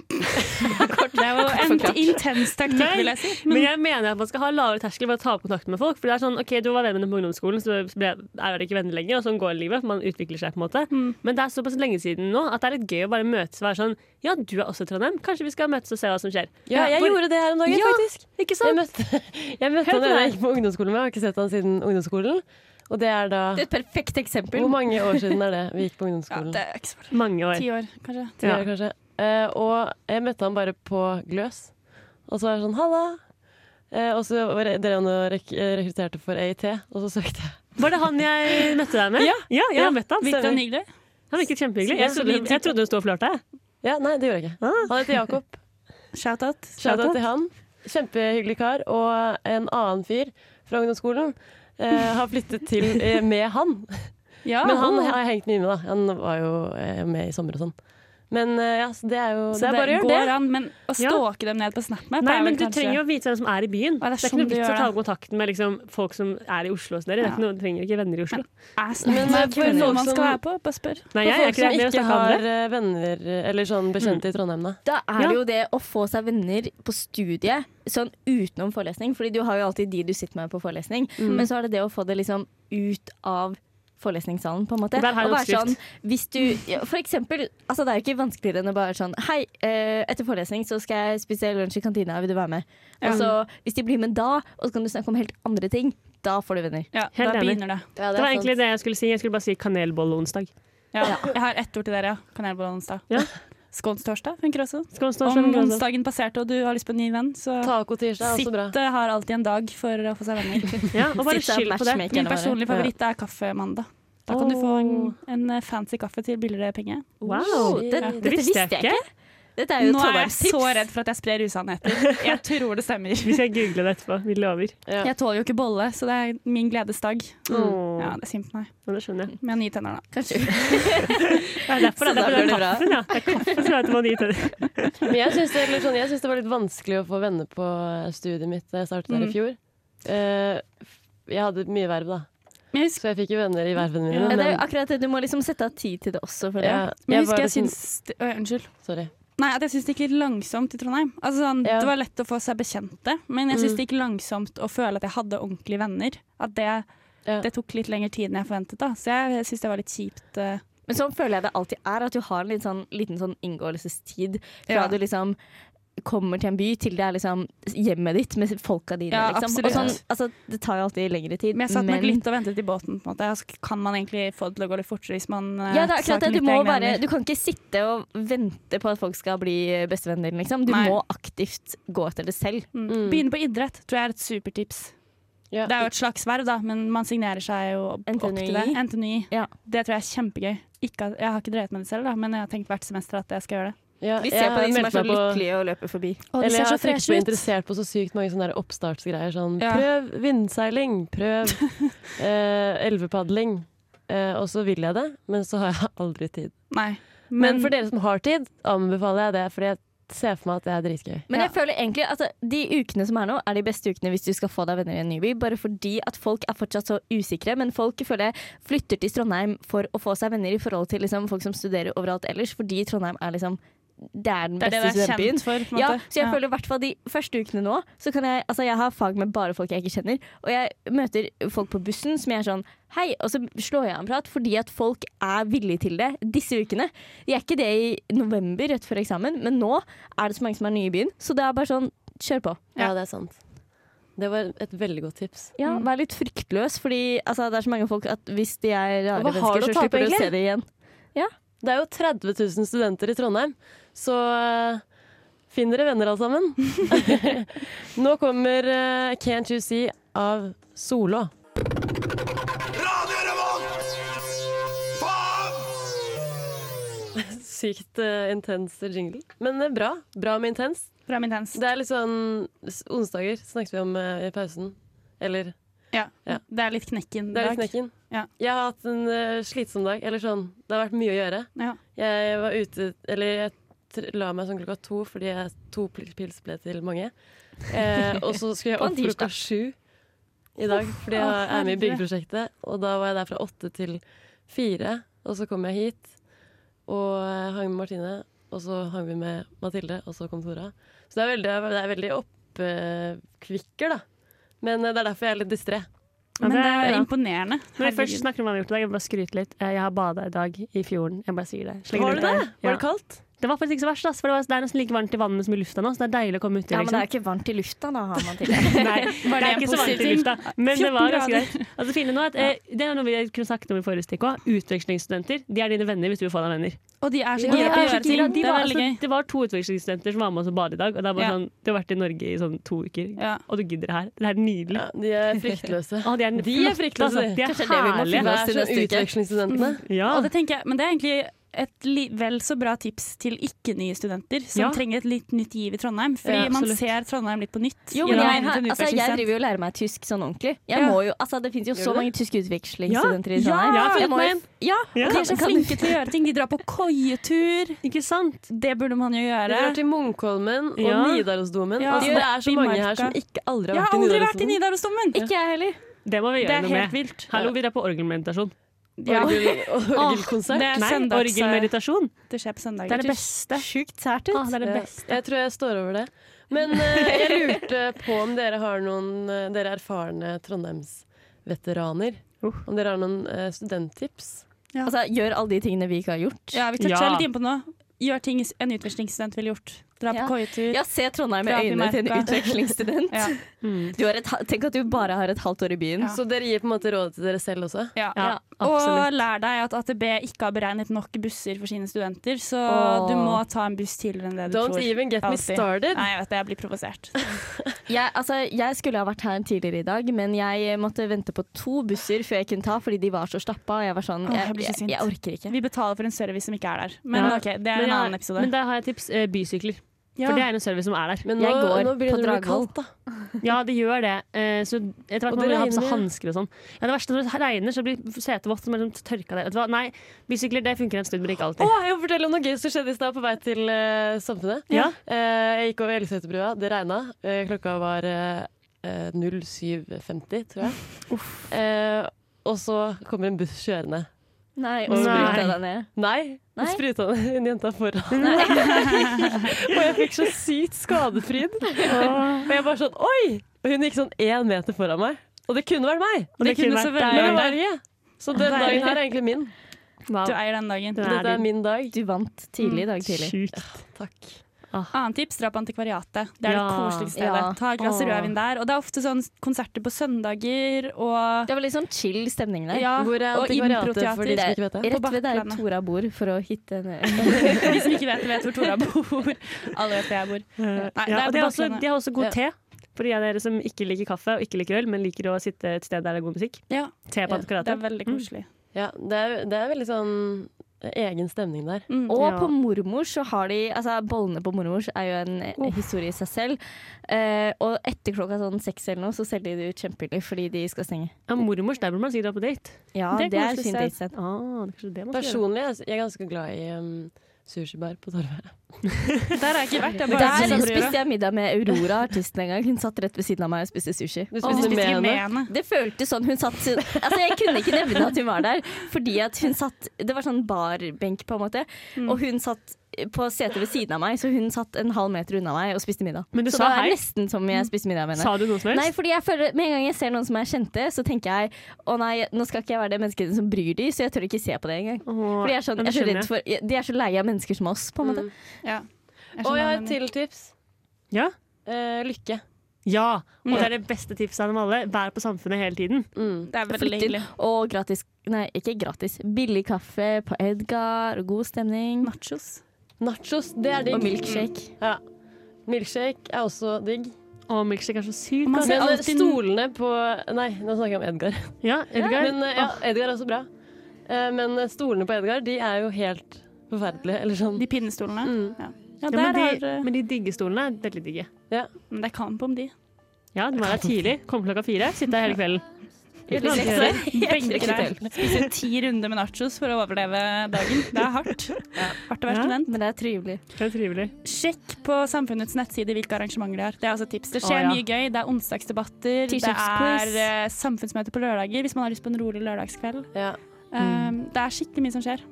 S3: Det er jo en intens taktikk, vil jeg si.
S4: Men jeg mener at man skal ha lavere terskel for å ta opp kontakt med folk. For det er sånn, ok, du var venn med dem på ungdomsskolen, så ble, er dere ikke venner lenger. Og sånn går livet, for man utvikler seg på en måte. Men det er såpass lenge siden nå at det er litt gøy å bare møtes og være sånn Ja, du er også i Trondheim. Kanskje vi skal møtes og se hva som skjer.
S1: Ja, jeg
S4: Hvor-
S1: gjorde det her om dagen,
S4: Ja,
S1: faktisk.
S4: Ikke
S1: Jeg
S4: sant?
S1: møtte, jeg møtte
S4: Hør
S1: han
S4: på
S1: da jeg
S4: deg.
S1: gikk på ungdomsskolen med, jeg har ikke sett han siden ungdomsskolen. Og det er da
S2: Det er et perfekt eksempel.
S1: Hvor mange år siden er det vi gikk på
S3: Ja,
S1: ungdomsskolen?
S3: det er ikke så farlig.
S4: Mange år.
S3: Ti år, kanskje.
S1: Ti år, kanskje. Eh, og jeg møtte han bare på Gløs. Og så var jeg sånn 'halla'. Eh, og så var jeg- drev han og rek rekrutterte for EIT, og så søkte jeg.
S4: Var det han jeg møtte deg med?
S1: Ja.
S4: jeg har møtt han.
S1: Stemmer.
S3: Virker han hyggelig?
S4: Han virket kjempehyggelig. Jeg
S1: Så
S4: trodde,
S1: vi-
S4: jeg trodde hun sto og flørta. jeg.
S1: Ja, nei, det gjorde jeg ikke.
S3: Ah.
S1: Han heter Jakob.
S3: Shout-out.
S1: Shout-out til han. Kjempehyggelig kar. Og en annen fyr fra ungdomsskolen eh, har flyttet til eh, med han.
S3: Ja,
S1: Men han har jeg hengt mye med, da. Han var jo eh, med i sommer og sånn. Men eh, ja, så det er jo
S3: så
S1: Det er bare å gjøre
S3: går
S1: det.
S3: an, men å
S4: Ja.
S3: stalke dem ned på SnapMap
S4: Nei,
S3: er vel
S4: men du
S3: kanskje-
S4: trenger jo vite hvem som er i
S3: Ja,
S4: byen. Det
S3: det
S4: er
S3: er
S4: ikke
S3: sånn
S4: noe
S3: du
S4: vits å
S3: gjør
S4: ta
S3: det.
S4: opp kontakten med liksom, folk som er i Oslo hos dere. Det er
S3: Ja.
S4: ikke noe, du trenger ikke venner i Oslo.
S3: Er SnapMap
S1: Men for
S3: noe
S1: folk
S3: man skal
S1: som-
S3: være på? Bare spør.
S4: Nei,
S1: For
S4: jeg er
S1: folk
S4: ikke det.
S1: som
S4: Det er å
S1: ikke
S4: snakke om
S1: har
S4: det.
S1: eh, venner eh, eller sånn bekjente i
S3: Mm.
S1: Trondheim, da.
S2: Da er
S4: Ja.
S2: det jo det å få seg venner på studiet sånn utenom forelesning. Fordi du har jo alltid de du sitter med på forelesning. Men så er det det å få det liksom ut av forelesningssalen, på en måte.
S4: Og der har
S2: Og
S4: jeg en
S2: være sånn,
S4: oppskrift.
S2: hvis du, ja, for eksempel, altså det er jo ikke vanskeligere enn å bare sånn Hei, eh, etter forelesning så skal jeg spise lunsj i kantina, vil du være med? Og så, hvis de blir med da, og så kan du snakke om helt andre ting. Da får du venner.
S3: Ja,
S4: Helt
S3: da
S4: enig.
S3: begynner det.
S1: Ja,
S4: Det var egentlig det jeg skulle si. Jeg skulle bare si kanelbolleonsdag.
S3: Ja. Jeg har ett ord til dere, ja. Kanelbolle onsdag.
S4: Ja.
S3: Skånstorsdag funker også.
S4: Skål, stå,
S3: Om
S4: sånn, skjønn, grønn, stå.
S3: onsdagen passerte og du har lyst på en ny venn, så
S1: Tacotirsdag er også bra.
S3: Sitte har alltid en dag for å få seg venner.
S4: Ja, og bare
S2: Sitte og
S4: skyld på det.
S2: matchmakerne
S3: Min
S2: våre.
S3: personlige favoritt er kaffemandag. Da kan du få en, en eh, fancy kaffe til billigere penger.
S4: Wow.
S2: Det,
S1: Ja.
S2: dette visste jeg ikke. Dette er jo
S3: Nå er jeg
S2: Tollars
S3: så
S2: tips.
S3: redd for at jeg sprer usannheter. Jeg tror det stemmer.
S4: Vi skal google det etterpå. Vi lover.
S1: Ja.
S3: Jeg tåler jo ikke bolle, så det er min gledesdag.
S2: Mm.
S4: Åh,
S3: Ja, det er synd på meg.
S4: men det skjønner jeg.
S3: Med nye tenner, da.
S4: Det er derfor
S2: Så
S4: det
S2: da går det
S4: er derfor det er
S2: bra.
S4: kaffen, ja. Det er kaffen som er til man gir til.
S1: Men jeg syns det, eller sånn, jeg synes det var litt vanskelig å få venner på eh, studiet mitt da jeg startet der i
S3: Mm.
S1: fjor. Eh, jeg hadde mye verv, da,
S3: Men jeg husker,
S1: så jeg fikk jo venner i vervene mine.
S3: Ja,
S2: Ja, det er jo
S1: men,
S2: akkurat det. Du må liksom sette av tid til det også. føler
S1: ja,
S2: jeg.
S3: men jeg,
S1: var
S3: husker jeg
S2: sånn-
S1: liksom-
S3: syns det- Oi, Unnskyld.
S1: Sorry.
S3: Nei, at jeg syns det gikk litt langsomt i Trondheim. Altså, sånn,
S1: Ja.
S3: Det var lett å få seg bekjente, men jeg
S2: Mm.
S3: syns det gikk langsomt å føle at jeg hadde ordentlige venner. At det,
S1: Ja.
S3: det tok litt lengre tid enn jeg forventet, da. Så jeg syns det var litt kjipt. eh.
S2: Men sånn føler jeg det alltid er, at du har en litt sånn, liten sånn inngåelsestid fra
S3: Ja.
S2: du liksom kommer til en by til det er liksom hjemmet ditt med folka dine.
S3: Ja,
S2: liksom.
S3: absolutt.
S2: Og sånn, altså, det tar jo alltid lengre tid.
S3: Men jeg satt nok litt og ventet i båten, på en måte. Og så Kan man egentlig få det til å gå litt fortere hvis man eh,
S2: ja, det er akkurat
S3: saker
S2: det. Du,
S3: litt
S2: må
S3: egne
S2: bare,
S3: venner?
S2: du kan ikke sitte og vente på at folk skal bli bestevennen din. Liksom. Du
S3: Nei.
S2: må aktivt gå etter det selv.
S3: Mm.
S1: Mm.
S3: Begynne på idrett tror jeg er et supertips.
S1: Ja.
S3: Det er jo et slags verv, da, men man signerer seg jo opp opp til det.
S2: NTNUI.
S3: NTNUI.
S2: Ja.
S3: Det tror jeg er kjempegøy. Ikke, at- jeg har ikke drevet med det selv, da, men jeg har tenkt hvert semester at jeg skal gjøre det.
S1: Ja,
S2: Vi
S1: jeg
S2: ser på de som
S1: meldte
S2: er så
S1: meg på-
S2: lykkelige og løper forbi.
S1: Eller jeg har sikkert blitt interessert på så sykt mange sånne der oppstartsgreier. Sånn,
S3: Ja.
S1: Prøv vindseiling, prøv eh, elvepadling. Eh, og så vil jeg det, men så har jeg aldri tid.
S3: Nei.
S1: Men, for dere som har tid, anbefaler jeg det, fordi jeg ser for meg at det er dritgøy.
S2: Men
S3: Ja.
S2: jeg føler egentlig at de ukene som er nå, er de beste ukene hvis du skal få deg venner i en ny by. Bare fordi at folk er fortsatt så usikre. Men folk føler jeg flytter til Trondheim for å få seg venner i forhold til liksom, folk som studerer overalt ellers. Fordi Trondheim er liksom Det er den
S3: det er det
S2: beste
S3: det er
S2: studentbyen.
S3: kjent for. På en
S2: Ja,
S3: måte.
S2: så jeg føler i hvert fall de første ukene nå så kan jeg, altså jeg har fag med bare folk jeg ikke kjenner. Og jeg møter folk på bussen som jeg er sånn hei, og så slår jeg av en prat fordi at folk er villige til det disse ukene. De er ikke det i november rett før eksamen, men nå er det så mange som er nye i byen. Så det er bare sånn kjør på.
S1: Ja, det er sant. Det var et veldig godt tips.
S2: Ja, Vær litt fryktløs, fordi altså, det er så mange folk at hvis de er
S1: Og
S2: rare
S1: hva har
S2: mennesker,
S1: du å
S2: så
S1: tape,
S2: slipper du å
S1: egentlig?
S2: se det igjen.
S1: Det er jo 30 000 studenter i Trondheim, så eh, finn dere venner alle sammen. Nå kommer eh, Can't You See av Solå.
S6: Radio Revolt! Faen!
S1: Sykt eh, intens jingle. Men eh, bra. Bra med intens.
S3: Bra, men intenst.
S1: Det er litt sånn s- Onsdager snakket vi om eh, i pausen. Eller
S3: Ja.
S1: Ja.
S3: Det er litt knekken.
S1: Det er litt
S3: dag.
S1: knekken.
S3: Ja.
S1: Jeg har hatt en eh, slitsom dag. Eller sånn. Det har vært mye å gjøre.
S3: Ja.
S1: Jeg var ute Eller jeg tr la meg sånn klokka to fordi jeg, to pil- pils ble til mange. Eh, og så skulle jeg
S2: På en
S1: opp klokka
S2: tirsdag.
S1: sju i dag fordi jeg
S3: Å,
S1: er med i
S3: herre.
S1: byggeprosjektet. Og da var jeg der fra åtte til fire. Og så kom jeg hit og eh, hang med Martine. Og så hang vi med Mathilde, og så kom Tora. Så det er veldig, det er veldig oppkvikker, da. Men eh, det er derfor jeg er litt distré.
S4: Ja,
S3: Men det er
S4: bra.
S3: imponerende.
S4: Når vi først
S3: Herregud.
S4: snakker om hva vi har gjort i dag, jeg vil bare skryte litt. Eh, Jeg har bada i dag i fjorden. Jeg bare sier det. Slenger
S1: Var det
S4: ut der.
S1: det?
S4: Ja.
S1: Var det kaldt?
S4: Det var faktisk ikke så verst, ass, for det, var, det er nesten like varmt i vannet som i lufta nå, så det er deilig å komme uti.
S2: Ja, men det
S4: liksom.
S2: er ikke varmt i lufta, da har man til det.
S4: Nei,
S3: Var
S4: det
S3: det
S4: er
S3: en
S4: ikke så varmt i
S3: positiv
S4: lufta, men det
S3: 14
S4: var ganske
S3: grader.
S4: greit. Altså, det fine nå er at, eh, det er noe vi kunne snakket om i forrige stikk òg. Utvekslingsstudenter. De er dine venner hvis du vil få deg venner.
S3: Og de er så
S1: Ja,
S3: gira på å
S1: de er så
S3: gjøre ting.
S4: De
S3: Det
S4: var,
S3: er veldig
S4: altså,
S3: gøy.
S4: det var to utvekslingsstudenter som var med oss og badet i dag, og det er bare
S3: Ja.
S4: sånn, du har vært i Norge i sånn to uker,
S3: Ja.
S4: og du gidder det her. Det er nydelig.
S1: Ja, de er fryktløse.
S4: Å, de er,
S1: De er
S4: flotte,
S1: fryktløse,
S4: altså.
S1: de.
S4: De
S2: Kanskje det
S4: er
S2: vi må
S1: Det
S4: herlige.
S2: finne oss
S1: er
S2: til
S1: sånn
S2: neste uke.
S1: utvekslingsstudentene.
S4: Ja.
S3: Og det tenker jeg, men det er egentlig et li vel så bra tips til ikke-nye studenter som
S4: Ja.
S3: trenger et litt nytt giv i Trondheim. Fordi
S1: Ja,
S3: man
S1: absolutt.
S3: ser Trondheim litt på nytt.
S2: Jo, men
S3: gjennom
S2: jeg,
S3: øynene
S2: har,
S3: til en
S2: altså, jeg
S3: utvekslingsstudent.
S2: driver jo og lærer meg tysk sånn ordentlig. Jeg
S3: Ja.
S2: må jo, altså, det finnes jo
S1: Gjør
S2: så
S1: du det?
S2: mange tyske utvekslingsstudenter i
S4: Ja,
S2: Trondheim.
S4: jeg har funnet
S2: må jo-
S4: meg en.
S2: Ja,
S4: Ja.
S3: De er så
S2: Kan- kan-
S3: flinke til å gjøre ting. De drar på koietur.
S4: Ikke sant?
S3: Det burde man jo
S1: De
S3: gjøre.
S1: drar til Munkholmen og
S4: Ja.
S1: Nidarosdomen.
S3: Ja.
S1: Altså,
S3: De
S1: det
S3: gjør
S1: er så
S3: opp i
S1: mange
S3: marka.
S1: her som ikke aldri
S3: Jeg
S1: har
S3: har aldri
S1: vært
S3: vært i
S1: i Nidarosdomen.
S3: Nidarosdomen!
S2: Ikke jeg heller.
S4: Det må vi
S3: Det
S4: gjøre
S3: er
S4: noe
S3: helt
S4: med.
S3: vilt.
S4: Hallo, vi drar på orgelmeditasjon.
S3: Ja.
S1: Orgel- Orgelkonsert.
S3: Det er
S4: Nei,
S3: søndags,
S4: orgelmeditasjon.
S3: det skjer på søndager.
S4: Det er det beste.
S2: Sjukt sært
S4: Ah, det er det
S1: Ja.
S4: beste.
S1: Jeg tror jeg står over det. Men eh, jeg lurte på om dere har noen eh, Dere er erfarne Trondheimsveteraner.
S4: Uh.
S1: Om dere har noen eh, studenttips?
S2: Altså, gjør alle de tingene vi ikke har gjort.
S3: Ja, vi toucha
S4: Ja.
S3: litt innpå nå. gjør ting en utvekslingsstudent ville gjort. Dra på
S2: Ja.
S3: koietur.
S2: Ja, se Trondheim i
S3: Dra til
S2: øynene til en
S3: Merka.
S2: utvekslingsstudent.
S3: Ja.
S2: Du har et, ha- tenk at du bare har et halvt år i byen.
S3: Ja.
S1: Så dere gir på en måte råd til dere selv også?
S3: Ja.
S4: Ja,
S3: og
S4: absolutt.
S3: lær deg at AtB ikke har beregnet nok busser for sine studenter, så
S2: Åh.
S3: du må ta en buss tidligere enn det du
S1: Don't
S3: tror.
S1: even get me
S3: Alltid.
S1: started.
S3: Nei, jeg vet det, jeg blir provosert.
S2: Jeg, altså, jeg skulle ha vært her tidligere i dag, men jeg måtte vente på to busser før jeg kunne ta, fordi de var så stappa. Og jeg var sånn,
S3: Åh, jeg
S2: jeg,
S3: blir så
S2: jeg,
S3: sint.
S2: jeg orker ikke.
S3: Vi betaler for en service som ikke er der. Men
S4: Ja.
S3: OK, det er
S4: Men
S3: en
S4: jeg-
S3: annen episode.
S4: Men der har jeg tips. eh, Bysykler.
S3: ja.
S4: For det er en service som er der.
S1: Men nå,
S2: Jeg går
S1: nå begynner
S2: på
S1: det å bli
S2: Dragvoll.
S1: kaldt, da.
S4: Ja, det gjør det. Eh, Så etter
S1: Og det
S4: hvert man vil ha på seg
S1: regner.
S4: hansker og sånn. Ja, det verste når det regner, så blir setet vått. så man liksom tørker det. Vet du hva? Nei, bysykler det funker en stund, men ikke alltid.
S1: Å, jeg må fortelle om noe gøy som skjedde i stad på vei til eh, Samfunnet.
S4: Ja.
S1: Eh, jeg gikk over Elgeseterbrua, det regna. Eh, klokka var eh, eh, 07.50, tror jeg. Eh, og så kommer en buss kjørende.
S2: Nei, og så
S4: Nei.
S2: bryter jeg deg ned.
S1: Nei,
S2: Nei.
S1: Nei. spruta ned en jenta foran. og jeg fikk så sykt skadefryd. Og jeg bare sånn oi! Og hun gikk sånn én meter foran meg. Og det kunne vært meg!
S3: Og det kunne så
S4: vært
S3: veldig
S1: Men det
S3: vært
S1: var
S3: deg.
S1: ikke. Så den
S3: Deilig.
S1: dagen her er egentlig min.
S4: Wow.
S3: Du eier den dagen.
S4: Den er
S1: Dette er min dag.
S2: Du vant tidlig i
S4: Mm.
S2: dag tidlig.
S4: Sjukt.
S1: Takk.
S3: Annet tips, dra på Antikvariatet. Det er
S4: Ja.
S3: det koseligste stedet.
S2: Ja.
S3: Ta et glass
S2: Åh.
S3: rødvin der. Og det er ofte sånn konserter på søndager og
S2: Det var litt sånn chill stemning der.
S3: ja,
S1: Hvor er
S3: og
S1: antikvariatet for de
S3: improteater.
S1: som ikke vet det?
S2: Rett ved der
S3: Bakklandet.
S2: Tora bor, for å hitte eh, henne.
S3: De som ikke vet det, vet hvor Tora bor. Alle vet hvor jeg bor.
S4: Eh,
S3: Nei, det er sånn,
S4: ja, og
S3: på
S4: de, har også,
S3: Bakklandet.
S4: de har også god te. For de av dere som ikke liker kaffe og ikke liker øl, men liker å sitte et sted der det er god musikk.
S3: Ja,
S4: Te
S3: det
S4: på
S3: er
S4: antikvariatet.
S3: veldig koselig.
S1: Ja, det er, det er veldig sånn egen stemning der.
S3: Mm.
S2: Og
S4: Ja.
S2: på mormors så har de Altså, bollene på mormors er jo en eh, historie i seg selv. Eh, og etter klokka sånn seks eller noe, så selger de det ut kjempebillig fordi de skal stenge.
S4: Ja, mormors, der burde man sikkert dra på date.
S2: Ja,
S4: Det er
S2: det, er
S4: koselig
S2: et fint
S4: sted.
S2: datested.
S4: Ah, det er kanskje det man skal gjøre.
S1: Personlig jeg er jeg ganske glad i um, sushibar på Torvet.
S3: Der har jeg ikke vært. Jeg bare
S2: Der
S3: spiser brød.
S2: spiste jeg middag med Aurora, artisten en gang. Hun satt rett ved siden av meg og spiste sushi.
S1: Du
S3: Du
S1: spiste
S3: spiste
S1: med henne.
S3: gemene.
S2: Det føltes sånn hun satt Altså Jeg kunne ikke nevne at hun var der, fordi at hun satt Det var sånn barbenk, på en måte,
S4: Mm.
S2: og hun satt på setet ved siden av meg, så hun satt en halv meter unna meg og spiste middag.
S4: Men du
S2: så
S4: sa
S2: det var
S4: hei?
S2: nesten som jeg spiste middag med henne.
S4: Sa du noe som helst?
S2: Nei, fordi jeg føler Med en gang jeg ser noen som er kjente, så tenker jeg å nei, nå skal ikke jeg være det mennesket som bryr de, så jeg tør ikke se på det engang.
S4: Åh,
S2: Fordi jeg er sånn,
S4: ja,
S2: jeg
S4: det
S2: er så
S4: skjønner Mm.
S2: redd for De er så lei av mennesker som oss, på en måte.
S3: Ja.
S1: Og
S3: sånn
S1: jeg har et til tips.
S4: Ja?
S1: Eh, lykke.
S4: ja, og det er det beste tipset av dem alle. Vær på samfunnet hele tiden.
S1: Mm.
S3: Det er veldig
S2: Flytt inn.
S3: hyggelig.
S2: Og gratis Nei, ikke gratis. Billig kaffe på Edgar, og god stemning.
S3: Nachos.
S1: Nachos, det er
S2: Og
S1: digg.
S2: milkshake.
S1: Ja. Milkshake er også digg.
S4: Å, milkshake er så sykt.
S3: Man
S4: godt.
S3: ser
S1: Men eh,
S3: alltid-
S1: stolene på Nei, nå snakker jeg om Edgar.
S4: Ja, Edgar.
S1: Men eh, ja, Edgar er også bra. Eh, Men stolene på Edgar, de er jo helt forferdelige. Eller sånn.
S3: De pinnestolene. Mm. Ja. Ja,
S4: ja, men,
S3: der
S4: de,
S3: har, eh-
S4: men de diggestolene er veldig digge.
S1: Ja.
S3: men det er kamp om de.
S4: Ja, du må være der tidlig. Komme klokka fire. Sitte der hele kvelden. Uten noe annet å gjøre.
S3: Benke deg. Spise ti runder med nachos for å overleve dagen. Det er hardt. Hardt å være
S4: Ja.
S3: student.
S2: Men det er trivelig.
S4: Det er trivelig.
S3: Sjekk på Samfunnets nettside hvilke arrangementer de har. Det er også et tips. Det skjer
S4: Å, ja.
S3: mye gøy. Det er onsdagsdebatter, det er
S2: Tirsdagsquiz.
S3: eh, samfunnsmøte på lørdager hvis man har lyst på en rolig lørdagskveld.
S1: Ja.
S3: Um, det er skikkelig mye som skjer.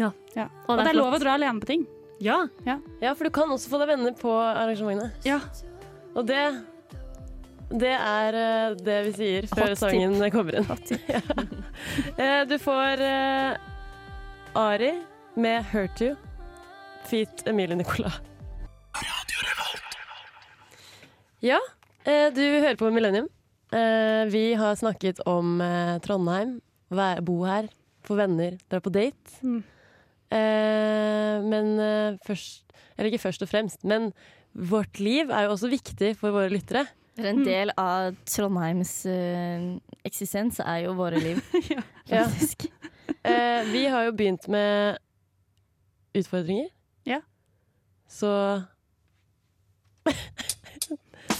S4: Ja.
S3: Og det er
S4: flott.
S3: lov å dra alene på ting.
S4: Ja.
S1: ja, for du kan også få deg venner på arrangementene.
S3: Ja.
S1: Og det det er eh, det vi sier før
S2: Hot tip.
S1: sangen kommer inn. Eh, Du får eh, Ari med 'Hurt You', feat. Emilie Nicolas. Ja, eh, du hører på Millennium. Eh, Vi har snakket om eh, Trondheim, væ- bo her, få venner, dra på date.
S3: Mm.
S1: Eh, Men eh, først Eller ikke først og fremst, men vårt liv er jo også viktig for våre lyttere.
S2: For en del av Trondheims eh, eksistens er jo våre liv,
S1: Ja.
S2: faktisk.
S1: Eh, vi har jo begynt med utfordringer.
S3: Ja.
S1: Så Da